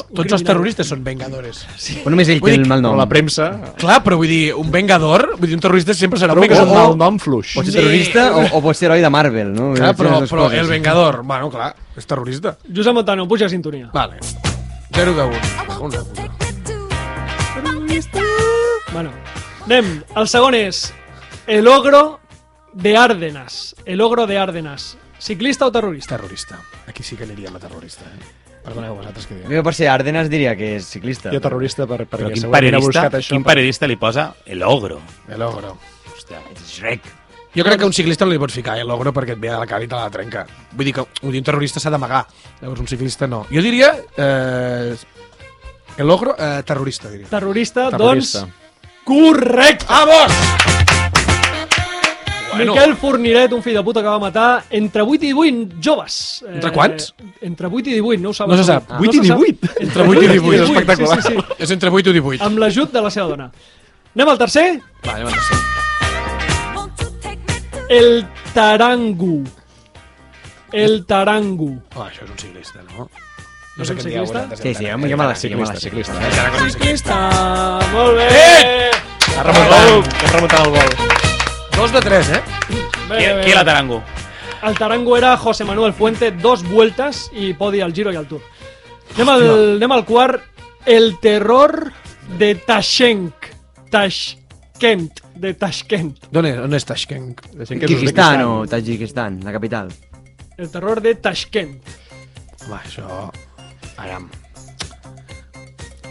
Speaker 1: És un
Speaker 3: tots els
Speaker 1: criminal.
Speaker 3: terroristes són vengadores.
Speaker 6: Però només ell
Speaker 3: Vull
Speaker 6: té
Speaker 3: dir
Speaker 6: el mal
Speaker 2: Però
Speaker 6: nom.
Speaker 2: la premsa...
Speaker 3: Clar, però vull dir, un vengador, vull dir, un terrorista sempre serà un
Speaker 2: Trobo que és un
Speaker 1: oh,
Speaker 3: vengador.
Speaker 2: mal nom fluix.
Speaker 6: Pot ser terrorista o, o pot ser heroi de Marvel, no?
Speaker 3: Clar, Ah, però,
Speaker 6: Les dues
Speaker 3: però
Speaker 6: coses.
Speaker 3: el vengador, bueno, clar, és terrorista.
Speaker 1: Josep Montano, puja a sintonia.
Speaker 3: Vale. 0 de 1.
Speaker 5: I want you to take me to
Speaker 1: Bueno, anem. El segon és El ogro de Árdenas. El ogro de Árdenas. Ciclista o terrorista?
Speaker 3: Terrorista. Aquí sí que aniríem a terrorista, eh? Perdoneu vosaltres que dieu.
Speaker 6: Jo per ser Ardenas diria que és ciclista.
Speaker 2: Jo terrorista per, perquè
Speaker 4: Però quin
Speaker 2: segurament ha
Speaker 4: periodista,
Speaker 2: buscat això.
Speaker 4: quin periodista li posa el ogro?
Speaker 3: El ogro.
Speaker 4: Hòstia,
Speaker 3: Jo crec que un ciclista no li pots ficar eh, l'ogro perquè et ve de la cara i te la trenca. Vull dir que vull dir, un terrorista s'ha d'amagar, llavors un ciclista no. Jo diria... Eh, el ogro, eh, terrorista, diria. Ah,
Speaker 1: Terrorista,
Speaker 2: Terrorista.
Speaker 1: doncs... Correcte!
Speaker 3: Vamos!
Speaker 1: Bueno. Miquel Forniret, un fill de puta que va matar entre 8 i 18 joves. Eh,
Speaker 3: Entre quants?
Speaker 1: Entre 8 i 18, no ho saben.
Speaker 3: No se sap.
Speaker 2: 8 i
Speaker 1: se sap.
Speaker 2: 18.
Speaker 3: Entre 8 i 18, és
Speaker 2: espectacular.
Speaker 1: Sí, sí,
Speaker 3: És entre 8 i
Speaker 1: sí.
Speaker 3: 18.
Speaker 1: Amb l'ajut de la seva dona. Anem al tercer.
Speaker 3: Va, anem a tercer.
Speaker 5: Won't you take me to
Speaker 1: El Tarangu. El Tarangu.
Speaker 3: Oh, això és un ciclista, no?
Speaker 1: És
Speaker 3: No sé
Speaker 1: un
Speaker 3: què en eh? dieu
Speaker 1: ciclista?
Speaker 3: vosaltres.
Speaker 6: Sí, sí, ja, me- ja me la sé, ja me la sé.
Speaker 2: ciclista.
Speaker 1: Ciclista, molt bé.
Speaker 3: Eh!
Speaker 2: Ha remuntat, ha remuntat el vol.
Speaker 3: Dos de tres, eh?
Speaker 1: bé,
Speaker 4: Qui,
Speaker 1: bé.
Speaker 4: qui la tarango?
Speaker 1: El Tarango era José Manuel Fuente, dos vueltes i podi al giro i al tour. Anem al, no. anem al quart. El terror de Tashenk. Tashkent. De Tashkent.
Speaker 3: D'on és, on és Tashkent?
Speaker 2: Deixem que
Speaker 6: Kirguistan o Tajikistan, la capital.
Speaker 1: El terror de Tashkent.
Speaker 3: Home, això... Aram.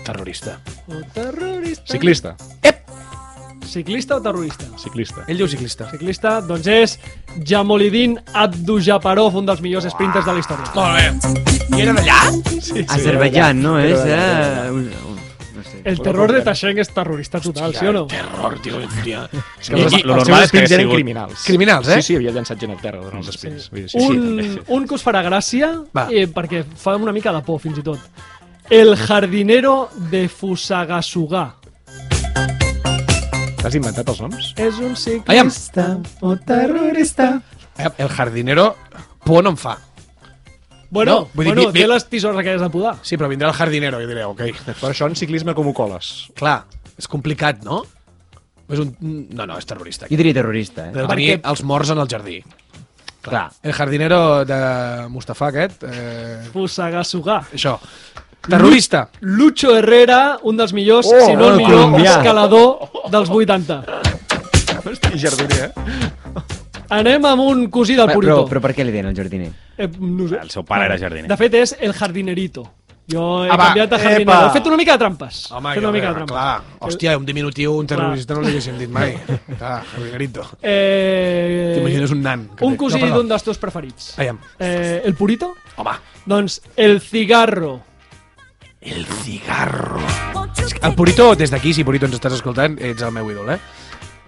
Speaker 3: Terrorista.
Speaker 1: O terrorista.
Speaker 2: Ciclista.
Speaker 1: Ciclista o terrorista?
Speaker 2: Ciclista.
Speaker 3: Ell diu ciclista.
Speaker 1: Ciclista, doncs és Jamolidin Abdujaparov, un dels millors sprinters de la història.
Speaker 3: Molt bé. I era d'allà?
Speaker 2: Sí,
Speaker 6: Azerbaijan, no? És, eh... un- un- No sé.
Speaker 1: El terror de Tashenk és terrorista total, sí o no?
Speaker 3: Terror, tio, hòstia.
Speaker 2: És que els, els seus sprints eren criminals.
Speaker 3: Criminals, eh?
Speaker 2: Sí, sí, havia llançat gent a terra durant els sprints. Vull dir, Sí, sí,
Speaker 1: un,
Speaker 2: també.
Speaker 1: un que us farà gràcia,
Speaker 3: Va.
Speaker 1: eh, perquè fa una mica de por, fins i tot. El jardinero de Fusagasugà.
Speaker 2: T'has inventat els noms?
Speaker 1: És un
Speaker 3: Aviam.
Speaker 1: ciclista o terrorista.
Speaker 3: El jardinero por no em fa.
Speaker 1: Bueno,
Speaker 3: No,
Speaker 1: no,
Speaker 3: vull dir,
Speaker 1: bueno
Speaker 3: mi- mi-
Speaker 1: té les tisores aquelles de podar.
Speaker 3: Sí, però vindrà el jardinero i diré, ok.
Speaker 2: Per això en ciclisme com ho coles?
Speaker 3: Clar, és complicat, no? És un... No, no, és terrorista.
Speaker 6: Jo diria terrorista, eh?
Speaker 3: Deu tenir els morts en el jardí.
Speaker 6: Clar.
Speaker 3: El jardinero de Mustafa aquest, eh,
Speaker 1: Fusagasugà.
Speaker 3: això. Terrorista.
Speaker 1: Lucho Herrera, un dels millors,
Speaker 2: Oh,
Speaker 1: si no el
Speaker 2: el
Speaker 1: millor,
Speaker 2: colombià.
Speaker 1: escalador dels 80.
Speaker 2: I jardiner, eh?
Speaker 1: Anem amb un cosí del
Speaker 6: Però, però,
Speaker 1: Purito.
Speaker 6: però per què li deien el jardiner?
Speaker 1: Eh, no sé.
Speaker 4: Ah, El seu pare era jardiner.
Speaker 1: De fet, és el jardinerito. Jo he
Speaker 3: Ah, va,
Speaker 1: canviat a
Speaker 3: epa.
Speaker 1: jardinero. He fet una mica de trampes.
Speaker 3: Home,
Speaker 1: he fet una mica de
Speaker 3: clar,
Speaker 1: trampes.
Speaker 3: clar. Hòstia, un diminutiu, un terrorista, no l'haguéssim dit mai. Clar, Rodrigarito.
Speaker 1: Eh...
Speaker 3: T'imagines un nan. que
Speaker 1: Un
Speaker 3: té-
Speaker 1: cosí
Speaker 3: no, perdó.
Speaker 1: d'un dels teus preferits.
Speaker 3: Aviam.
Speaker 1: Eh, el Purito?
Speaker 3: Home,
Speaker 1: Doncs el Cigarro.
Speaker 3: el cigarro.
Speaker 5: Won't you take
Speaker 3: El Eh, Purito, des d'aquí, si Purito ens estàs escoltant, ets el meu ídol, eh?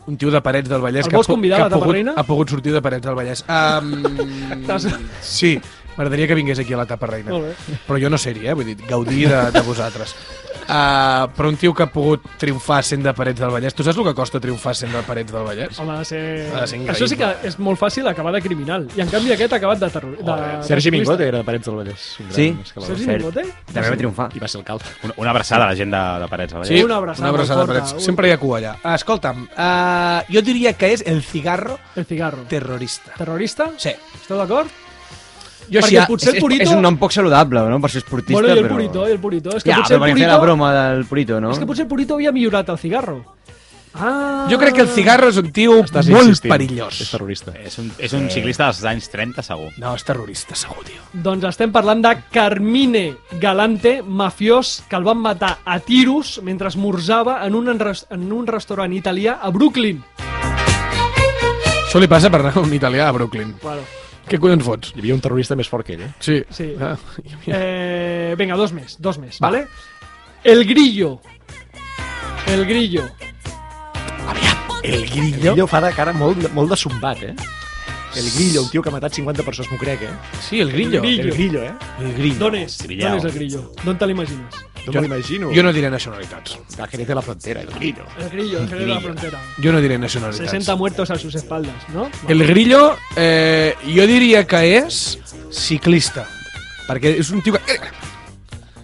Speaker 3: Un tio de Parets del Vallès
Speaker 1: El
Speaker 3: que, ha
Speaker 1: vols
Speaker 3: pu-
Speaker 1: convidar
Speaker 3: que
Speaker 1: a
Speaker 3: ha,
Speaker 1: la
Speaker 3: pogut,
Speaker 1: taparreina?
Speaker 3: ha pogut sortir de Parets del Vallès. Um,
Speaker 1: T'has-
Speaker 3: sí, m'agradaria que vingués aquí a la taparreina.
Speaker 1: Molt
Speaker 3: Però jo no seria, eh? vull dir, gaudir de, de vosaltres. Uh, però un tio que ha pogut triomfar sent de Parets del Vallès. Tu saps el que costa triomfar sent de Parets del Vallès?
Speaker 1: Home, ha de ser...
Speaker 3: Ha de ser increïble.
Speaker 1: Això sí que és molt fàcil acabar de criminal. I en canvi aquest ha acabat de terror... De...
Speaker 2: Sergi
Speaker 1: de
Speaker 2: Mingote era de Parets del Vallès. un gran
Speaker 6: Sí.
Speaker 2: escalador.
Speaker 1: Sergi
Speaker 6: Cert.
Speaker 1: Mingote?
Speaker 6: També va triomfar.
Speaker 2: I va ser alcalde.
Speaker 4: Una, una abraçada a la gent de, de Parets. de
Speaker 1: Sí.
Speaker 4: Vallès.
Speaker 1: Una abraçada
Speaker 3: una abraçada
Speaker 1: forta,
Speaker 3: de Parets.
Speaker 1: un-
Speaker 3: Sempre hi ha cua allà. Ah, escolta'm, uh, jo diria que és el cigarro
Speaker 1: El Cigarro.
Speaker 3: terrorista.
Speaker 1: Terrorista?
Speaker 3: Sí.
Speaker 1: Esteu d'acord?
Speaker 3: Jo
Speaker 1: Perquè potser el
Speaker 6: ah, és,
Speaker 1: Purito...
Speaker 6: És un nom poc saludable, no? Per ser esportista,
Speaker 1: Bueno, i el
Speaker 6: però...
Speaker 1: Purito, i el Purito. És que
Speaker 6: Ja,
Speaker 1: potser el
Speaker 6: però perquè
Speaker 1: Purito...
Speaker 6: feia la broma del Purito, no?
Speaker 1: És que potser el Purito havia millorat el Cigarro. Ah...
Speaker 3: Jo crec que el cigarro és un tio
Speaker 2: Estàs
Speaker 3: molt
Speaker 2: insistint.
Speaker 3: perillós.
Speaker 2: És terrorista.
Speaker 4: És un, és un ciclista dels anys 30, segur.
Speaker 3: No, és terrorista, segur, tio.
Speaker 1: Doncs estem parlant de Carmine Galante, mafiós, que el van matar a tiros mentre esmorzava en un, enres- en un restaurant italià a Brooklyn.
Speaker 3: Això li passa per anar a un italià a Brooklyn.
Speaker 1: Bueno,
Speaker 3: Què collons fots?
Speaker 2: Hi havia un terrorista més fort que ell, eh?
Speaker 3: Sí.
Speaker 1: Sí.
Speaker 3: Ah,
Speaker 1: eh, venga, dos més, dos més, vale? El Grillo. El Grillo.
Speaker 2: El grillo fa de cara molt, molt de sombat, eh? El Grillo, un tio que ha matat 50 persones, m'ho crec, eh?
Speaker 3: Sí, el grillo.
Speaker 1: Grillo.
Speaker 2: El Grillo, eh?
Speaker 3: El grillo.
Speaker 1: D'on és?
Speaker 4: Grillao.
Speaker 1: D'on és el grillo? D'on te l'imagines?
Speaker 2: No me l'imagino.
Speaker 3: Jo no diré nacionalitats.
Speaker 2: La gente de la frontera, el Grillo.
Speaker 1: El grillo, el grillo de la frontera.
Speaker 3: Jo no diré nacionalitats.
Speaker 1: 60 muertos a sus espaldas, ¿no?
Speaker 3: El Grillo, eh, jo diria que és ciclista, perquè és un tio que...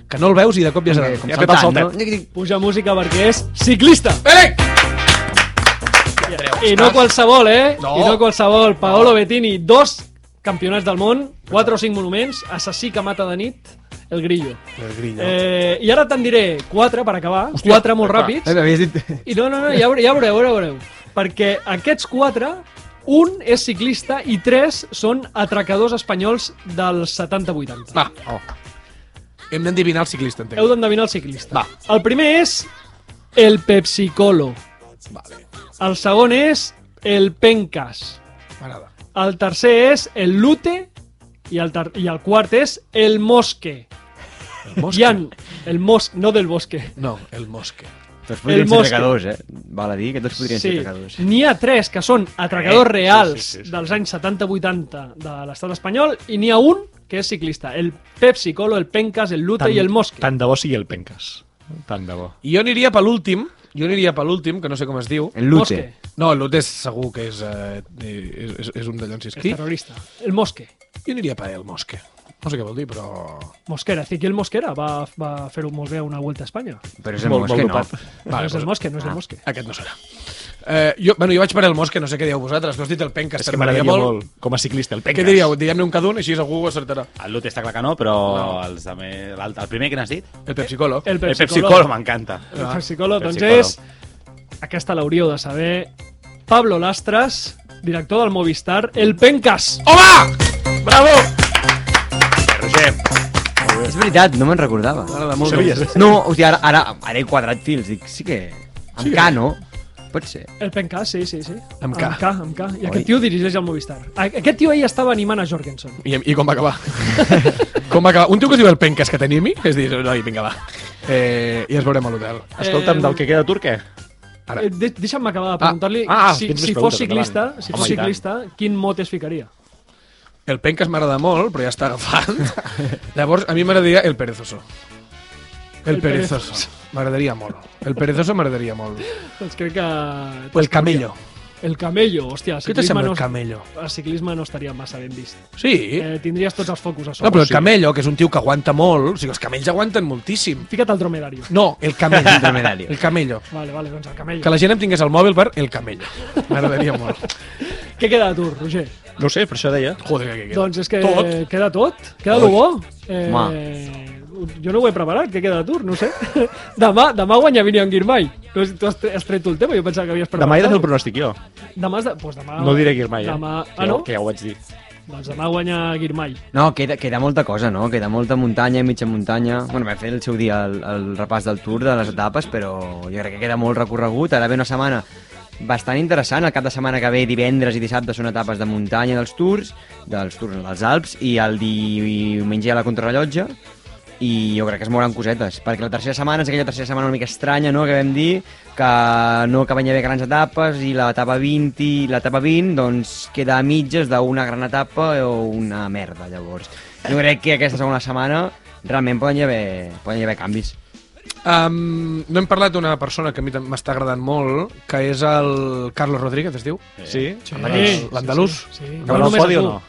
Speaker 3: que no el veus i de cop ja serà...
Speaker 6: Com
Speaker 2: Ja peta el
Speaker 6: saltant, no?
Speaker 2: saltet.
Speaker 1: Puja música perquè és ciclista.
Speaker 3: Eh!
Speaker 1: I no qualsevol, eh?
Speaker 3: No.
Speaker 1: I no qualsevol. Paolo Bettini, dos campionats del món, quatre o cinc monuments, assassí que mata de nit, el grillo. Ah,
Speaker 3: El Grillo.
Speaker 1: Eh, I ara te'n diré quatre per acabar, quatre molt ràpids.
Speaker 6: Eh, m'havies dit...
Speaker 1: I no, no, no, ja veureu, ja veureu, ja veureu. Perquè aquests quatre, un és ciclista i tres són atracadors espanyols dels 70-80.
Speaker 3: Va. Oh. Hem d'endevinar el ciclista, entenc.
Speaker 1: Heu d'endevinar el ciclista.
Speaker 3: Va.
Speaker 1: El primer és el Pepsicolo. Vale. El segon és el Pencas.
Speaker 3: M'agrada.
Speaker 1: El tercer és el Lute i el, ter- i el quart és el Mosque. El
Speaker 3: Mosque?
Speaker 1: Jan, el Mosque, no del Bosque.
Speaker 3: No, el Mosque.
Speaker 6: Tots podrien ser
Speaker 1: Mosca.
Speaker 6: pecadors, eh? Val a dir que tots podrien ser pecadors.
Speaker 1: N'hi ha tres que són atracadors reals dels anys 70-80 de l'estat espanyol i n'hi ha un que és ciclista, el Pepsi Colo, el Pencas, el Lute i el Mosque.
Speaker 2: Tant de bo sigui el Pencas. Tant de bo.
Speaker 3: I jo aniria per l'últim, jo aniria per l'últim, que no sé com es diu.
Speaker 6: El Lute.
Speaker 1: Mosque,
Speaker 3: No, el Lute és segur que és, eh, eh, és, és un d'allò en
Speaker 1: el
Speaker 3: sisquí.
Speaker 1: terrorista. El Mosque.
Speaker 3: Jo aniria per el Mosque. No sé què vol dir, però...
Speaker 1: Mosquera, Ezequiel Mosquera va, va fer-ho molt bé a una Vuelta a Espanya.
Speaker 6: Però és el
Speaker 2: Molt,
Speaker 6: Mosca,
Speaker 2: molt
Speaker 6: no.
Speaker 2: dopat.
Speaker 1: no és el Mosque, no és el Mosque.
Speaker 3: Aquest no serà. Eh, jo, bueno, jo vaig per el Mosque, no sé què dieu vosaltres, que has dit el Pencas,
Speaker 2: És que
Speaker 3: però
Speaker 2: m'agradaria
Speaker 3: m'agradaria
Speaker 2: molt, com a ciclista, el Pencas.
Speaker 3: Què diríeu? Diguem-ne un cada un, així algú ho acertarà.
Speaker 4: El Lute està clar que no, però els de me... l'alt- el primer que n'has dit?
Speaker 3: El Pepsicolo.
Speaker 1: El
Speaker 4: El Pepsi
Speaker 1: Pepsicolo.
Speaker 4: Cola m'encanta.
Speaker 1: El Pepsicolo, doncs
Speaker 4: Pepsi Cola.
Speaker 1: és... Aquesta l'hauríeu de saber. Pablo Lastres, director del Movistar, el Pencas.
Speaker 3: Home! Bravo!
Speaker 4: Roger,
Speaker 6: És veritat, no me'n recordava.
Speaker 3: M'agrada molt.
Speaker 2: Sabies?
Speaker 6: No, o sigui, ara, ara, ara he quadrat fils, dic, sí que... Amb sí, Cano, pot ser.
Speaker 1: El Pencas, sí, sí, sí.
Speaker 3: Amb K.
Speaker 1: Amb K, amb K. I
Speaker 6: Oi.
Speaker 1: aquest tio dirigeix el Movistar. A- Aquest tio ahir estava animant a Jorgensen.
Speaker 3: I, I com va acabar? com va acabar? Un tio que es diu el Pencas, que tenim, que es diu, noi, vinga, va. Eh, I ens veurem a l'hotel.
Speaker 2: Escolta'm, del que queda tur, què?
Speaker 3: Ara.
Speaker 1: Eh, de- Deixa'm acabar de preguntar-li
Speaker 2: ah,
Speaker 1: si,
Speaker 2: tens més
Speaker 1: si fos
Speaker 2: preguntes,
Speaker 1: ciclista,
Speaker 2: endavant.
Speaker 1: si fos
Speaker 2: Home, i tant.
Speaker 1: ciclista, quin mot es ficaria?
Speaker 3: El Pencas m'agrada molt, però ja està agafant. Llavors, a mi m'agradaria el Perezoso. El,
Speaker 1: El
Speaker 3: Perezoso. M'agradaria molt. El Perezoso m'agradaria molt.
Speaker 1: Doncs crec que... Pues
Speaker 3: O el Camello.
Speaker 1: El camello, hòstia,
Speaker 3: Què te
Speaker 1: ciclisme
Speaker 3: sembla
Speaker 1: no,
Speaker 3: el Camello?
Speaker 1: el ciclisme no estaria massa ben vist.
Speaker 3: Sí.
Speaker 1: Eh, tindries tots els focus a sobre.
Speaker 3: No, però el camello, que és un tio que aguanta molt, o sigui, els camells aguanten moltíssim.
Speaker 1: Fica't al dromedario.
Speaker 3: No, el camello.
Speaker 6: El dromedario.
Speaker 3: El camello.
Speaker 1: Vale, vale, doncs el camello.
Speaker 3: Que la gent em tingués el mòbil per el camello. M'agradaria molt.
Speaker 1: Què queda de tu, Roger?
Speaker 2: No ho sé, per això deia.
Speaker 3: Joder, que queda.
Speaker 1: Doncs és que
Speaker 3: Tot.
Speaker 1: queda tot. Queda lo bo. Eh,
Speaker 6: Home.
Speaker 1: jo no ho he preparat, què queda de tu? No ho sé. demà, demà guanya Vini en Guirmai. No, sé, tu has, tre- has tret tu el tema, jo pensava que havies preparat.
Speaker 2: Demà he de fer el
Speaker 1: alguna
Speaker 2: pronòstic, jo.
Speaker 1: cosa. Demà, has de... pues
Speaker 3: Ah,
Speaker 1: demà...
Speaker 2: No diré Guirmai, eh?
Speaker 1: Demà...
Speaker 2: Que
Speaker 1: Ah,
Speaker 2: ja-
Speaker 1: no?
Speaker 2: Que ja ho vaig dir.
Speaker 1: Doncs demà guanya Guirmai.
Speaker 6: No, queda, queda molta cosa, no? Queda molta muntanya i mitja muntanya. Bueno, vam fer el seu dia el, el repàs del Tour, de les etapes, però jo crec que queda molt recorregut. Ara ve una setmana bastant interessant. El cap de setmana que ve, divendres i dissabte, són etapes de muntanya dels Tours, dels Tours, no, dels Alps, i el diumenge hi ha la contrarrellotge, i jo crec que es mouran cosetes, perquè la tercera setmana és aquella tercera setmana una mica estranya, no?, que vam dir que no acaben hi haver grans etapes i l'etapa 20 i l'etapa 20 doncs queda a mitges d'una gran etapa o una merda, llavors. Jo crec que aquesta segona setmana realment poden hi haver, poden hi haver canvis.
Speaker 3: Um, no hem parlat d'una persona que a mi tam- m'està agradant molt, que és el Carlos Rodríguez, es diu?
Speaker 2: Sí?
Speaker 3: L'andalús. L'andalús.
Speaker 1: Sí, sí.
Speaker 2: Cabrà el
Speaker 1: només
Speaker 2: podi
Speaker 1: a
Speaker 2: o
Speaker 1: tu.
Speaker 2: no?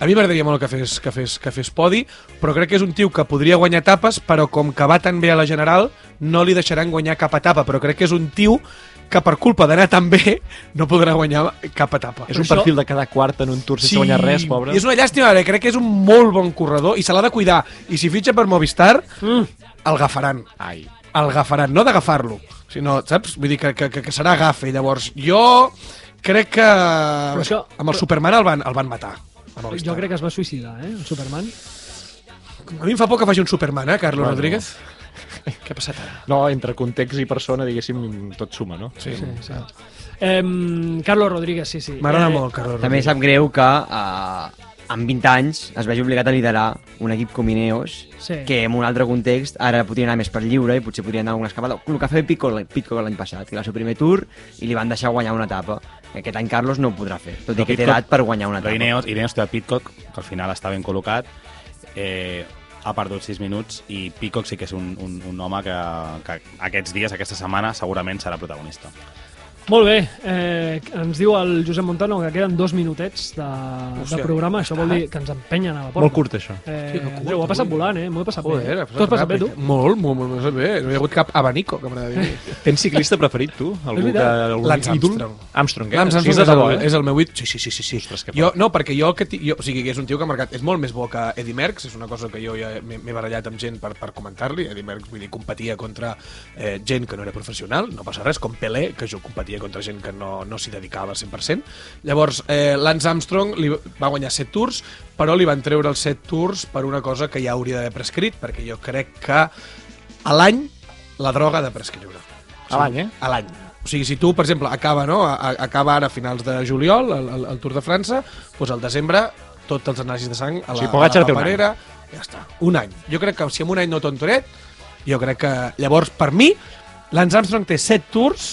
Speaker 3: A mi m'agradaria molt que fes, que, fes, que fes podi, però crec que és un tio que podria guanyar etapes, però com que va tan bé a la general, no li deixaran guanyar cap etapa, però crec que és un tio que per culpa d'anar tan bé no podrà guanyar cap etapa.
Speaker 2: És un
Speaker 1: això-
Speaker 2: perfil de cada quart en un tour sense guanyar res, pobre.
Speaker 3: I és una llàstima, perquè crec que és un molt bon corredor i se l'ha de cuidar. I si fitxa per Movistar, mm. el agafaran.
Speaker 2: Ai.
Speaker 3: El agafaran, no d'agafar-lo, sinó, saps? Vull dir que, que, que, que serà agafe. Llavors, jo crec que
Speaker 1: això-
Speaker 3: amb el Superman el van, el van matar. a Movistar.
Speaker 1: Jo crec que es va suïcidar, eh, el Superman.
Speaker 3: A mi em fa por que faci un Superman, eh, Carlos bueno. Rodríguez? Què ha passat ara?
Speaker 2: No, entre context i persona, diguéssim, tot suma, no?
Speaker 3: Sí. sí, sí.
Speaker 1: Eh, Carlos Rodríguez, sí, sí.
Speaker 3: M'agrada
Speaker 1: Eh,
Speaker 3: molt, Carlos
Speaker 6: També
Speaker 3: Rodríguez.
Speaker 6: sap greu que eh, amb 20 anys es vegi obligat a liderar un equip com Ineos,
Speaker 1: Sí.
Speaker 6: que en un altre context ara podria anar més per lliure i potser podria anar a una escapada. El que va fer Pitcock l'any- Pitcock l'any passat, que era el seu primer tour i li van deixar guanyar una etapa. Aquest any Carlos no ho podrà fer, tot i
Speaker 4: Però
Speaker 6: que té
Speaker 4: Pidcock-
Speaker 6: edat per guanyar una
Speaker 4: Però
Speaker 6: etapa.
Speaker 4: Ineos, Ineos té el Pitcock, que al final està ben col·locat, eh, ha perdut 6 minuts i Pitcock sí que és un, un, un home que, que aquests dies, aquesta setmana, segurament serà protagonista.
Speaker 1: Molt bé, eh, ens diu el Josep Montano que queden dos minutets de, de programa, això vol dir que ens empenyen a la porta.
Speaker 2: Molt curt, això.
Speaker 1: Eh,
Speaker 3: Hòstia, que curt,
Speaker 1: Andreu, ho ha passat
Speaker 3: avui.
Speaker 1: volant, eh? M'ho he passat
Speaker 3: Joder,
Speaker 1: bé. Tu has passat bé, tu?
Speaker 3: Molt, molt, molt, molt bé. No hi ha hagut cap abanico, que m'agradaria dir.
Speaker 2: Tens ciclista preferit, tu? Algú que,
Speaker 1: veritat.
Speaker 2: algun
Speaker 3: Lance
Speaker 2: ídol?
Speaker 3: Armstrong.
Speaker 2: Armstrong, eh?
Speaker 3: Lance
Speaker 2: Sí,
Speaker 3: Armstrong és,
Speaker 2: de bo,
Speaker 3: el,
Speaker 2: eh?
Speaker 3: és el meu ídol. Sí, sí, sí, sí. sí.
Speaker 2: Ostres, que
Speaker 3: jo,
Speaker 2: fort.
Speaker 3: no, perquè jo, el que ti- jo, o sigui, que és un tio que ha marcat... És molt més bo que Eddie Merckx, és una cosa que jo ja m'he m'he barallat amb gent per, per comentar-li. Eddie Merckx, vull dir, competia contra eh, gent que no era professional, no passa res, com Pelé, que jo competia contra gent que no, no s'hi dedicava al 100%. Llavors, eh, Lance Armstrong li va guanyar 7 tours, però li van treure els 7 tours per una cosa que ja hauria d'haver prescrit, perquè jo crec que a l'any la droga ha de prescriure
Speaker 2: A l'any, eh?
Speaker 3: a l'any. O sigui, si tu, per exemple, acaba, no? A- a- acaba ara a finals de juliol el, el, el Tour de França, doncs al desembre tots els anàlisis de sang
Speaker 2: O
Speaker 3: a la,
Speaker 2: sigui, Pogacar té
Speaker 3: a la
Speaker 2: un any.
Speaker 3: paperera, ja està, un any. Jo crec que si en un any no tontoret, jo crec que llavors per mi Lance Armstrong té set tours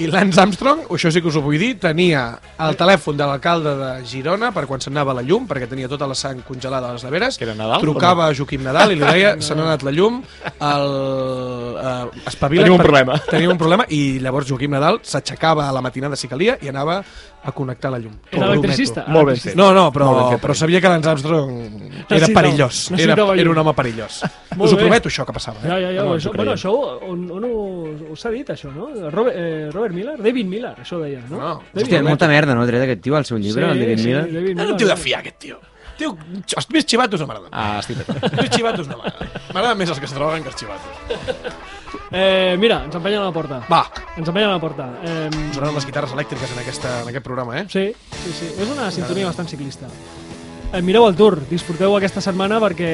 Speaker 3: i Lance Armstrong, això sí que us ho vull dir, tenia el telèfon de l'alcalde de Girona per quan se n'anava la llum, perquè tenia tota la sang congelada a les neveres,
Speaker 2: Que era Nadal,
Speaker 3: trucava a Joaquim Nadal i li deia, se n'ha anat la llum, el, eh, espavila...
Speaker 2: Tenim un
Speaker 3: per-
Speaker 2: problema.
Speaker 3: Tenim un problema i llavors Joaquim Nadal s'aixecava a la matinada si calia i anava a connectar la llum. T'ho
Speaker 1: Era
Speaker 3: prometo.
Speaker 1: electricista?
Speaker 2: Molt ben fet.
Speaker 3: No, no, però,
Speaker 2: Molt ben fet,
Speaker 3: però
Speaker 2: Toni.
Speaker 3: sabia que Lance Armstrong era
Speaker 1: Necessitava-
Speaker 3: perillós. Era,
Speaker 1: necessitava
Speaker 3: era
Speaker 1: llum.
Speaker 3: un home perillós.
Speaker 1: Molt
Speaker 3: Us ho
Speaker 1: bé.
Speaker 3: prometo, això que passava. Eh?
Speaker 1: Ja, ja, ja.
Speaker 3: No, no, us
Speaker 1: això,
Speaker 3: ho
Speaker 1: bueno,
Speaker 3: creiem.
Speaker 1: això on, on ho, us ha dit, això, no? Robert, eh, Robert Miller? David Miller, això deia, no?
Speaker 3: No,
Speaker 1: David
Speaker 6: Hòstia,
Speaker 1: Miller.
Speaker 6: molta merda, no? Tret aquest tio al seu llibre, el David Miller.
Speaker 1: Sí, David
Speaker 3: Era
Speaker 1: Miller.
Speaker 3: un tio de fiar, aquest tio. Tio, els més xivatos no m'agraden.
Speaker 2: Ah, estic d'acord.
Speaker 3: Els més xivatos no m'agraden. M'agraden més els que es droguen que els xivatos.
Speaker 1: Eh, mira, ens empenyen a la porta.
Speaker 3: Va,
Speaker 1: Ens empenyen a la porta. Eh,
Speaker 3: sonaran les guitarres elèctriques en, aquesta, en aquest programa, eh?
Speaker 1: Sí, sí, sí. És una sintonia bastant ciclista. Eh, mireu el tour, disfruteu aquesta setmana perquè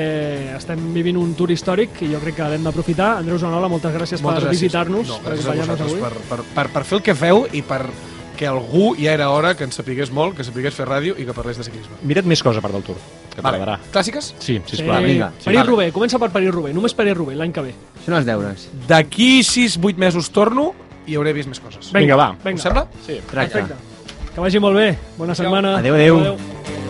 Speaker 1: estem vivint un tour històric i jo crec que l'hem d'aprofitar. Andreu Joanola, moltes gràcies per
Speaker 3: gràcies.
Speaker 1: visitar-nos,
Speaker 3: No,
Speaker 1: per
Speaker 3: gràcies a
Speaker 1: acompanyar-nos
Speaker 3: vosaltres
Speaker 1: avui.
Speaker 3: per, per, per, per fer el que feu i per que algú ja era hora que ens sapigués molt, que sapigués fer ràdio i que parlés de ciclisme.
Speaker 2: Mira't més coses a part del tour, que t'agradarà.
Speaker 3: Clàssiques?
Speaker 2: Sí,
Speaker 1: Eh,
Speaker 2: sisplau.
Speaker 6: vinga.
Speaker 1: París-Roubaix, comença per París-Roubaix, només París-Roubaix, l'any que ve.
Speaker 6: Són els deures.
Speaker 3: D'aquí 6-8 mesos torno i hauré vist més coses.
Speaker 2: Vinga, va.
Speaker 1: Vinga.
Speaker 3: Us sembla?
Speaker 1: Sí,
Speaker 6: Tracte.
Speaker 1: perfecte. Que vagi molt bé. Bona setmana.
Speaker 6: Adéu, adéu.
Speaker 1: Adéu.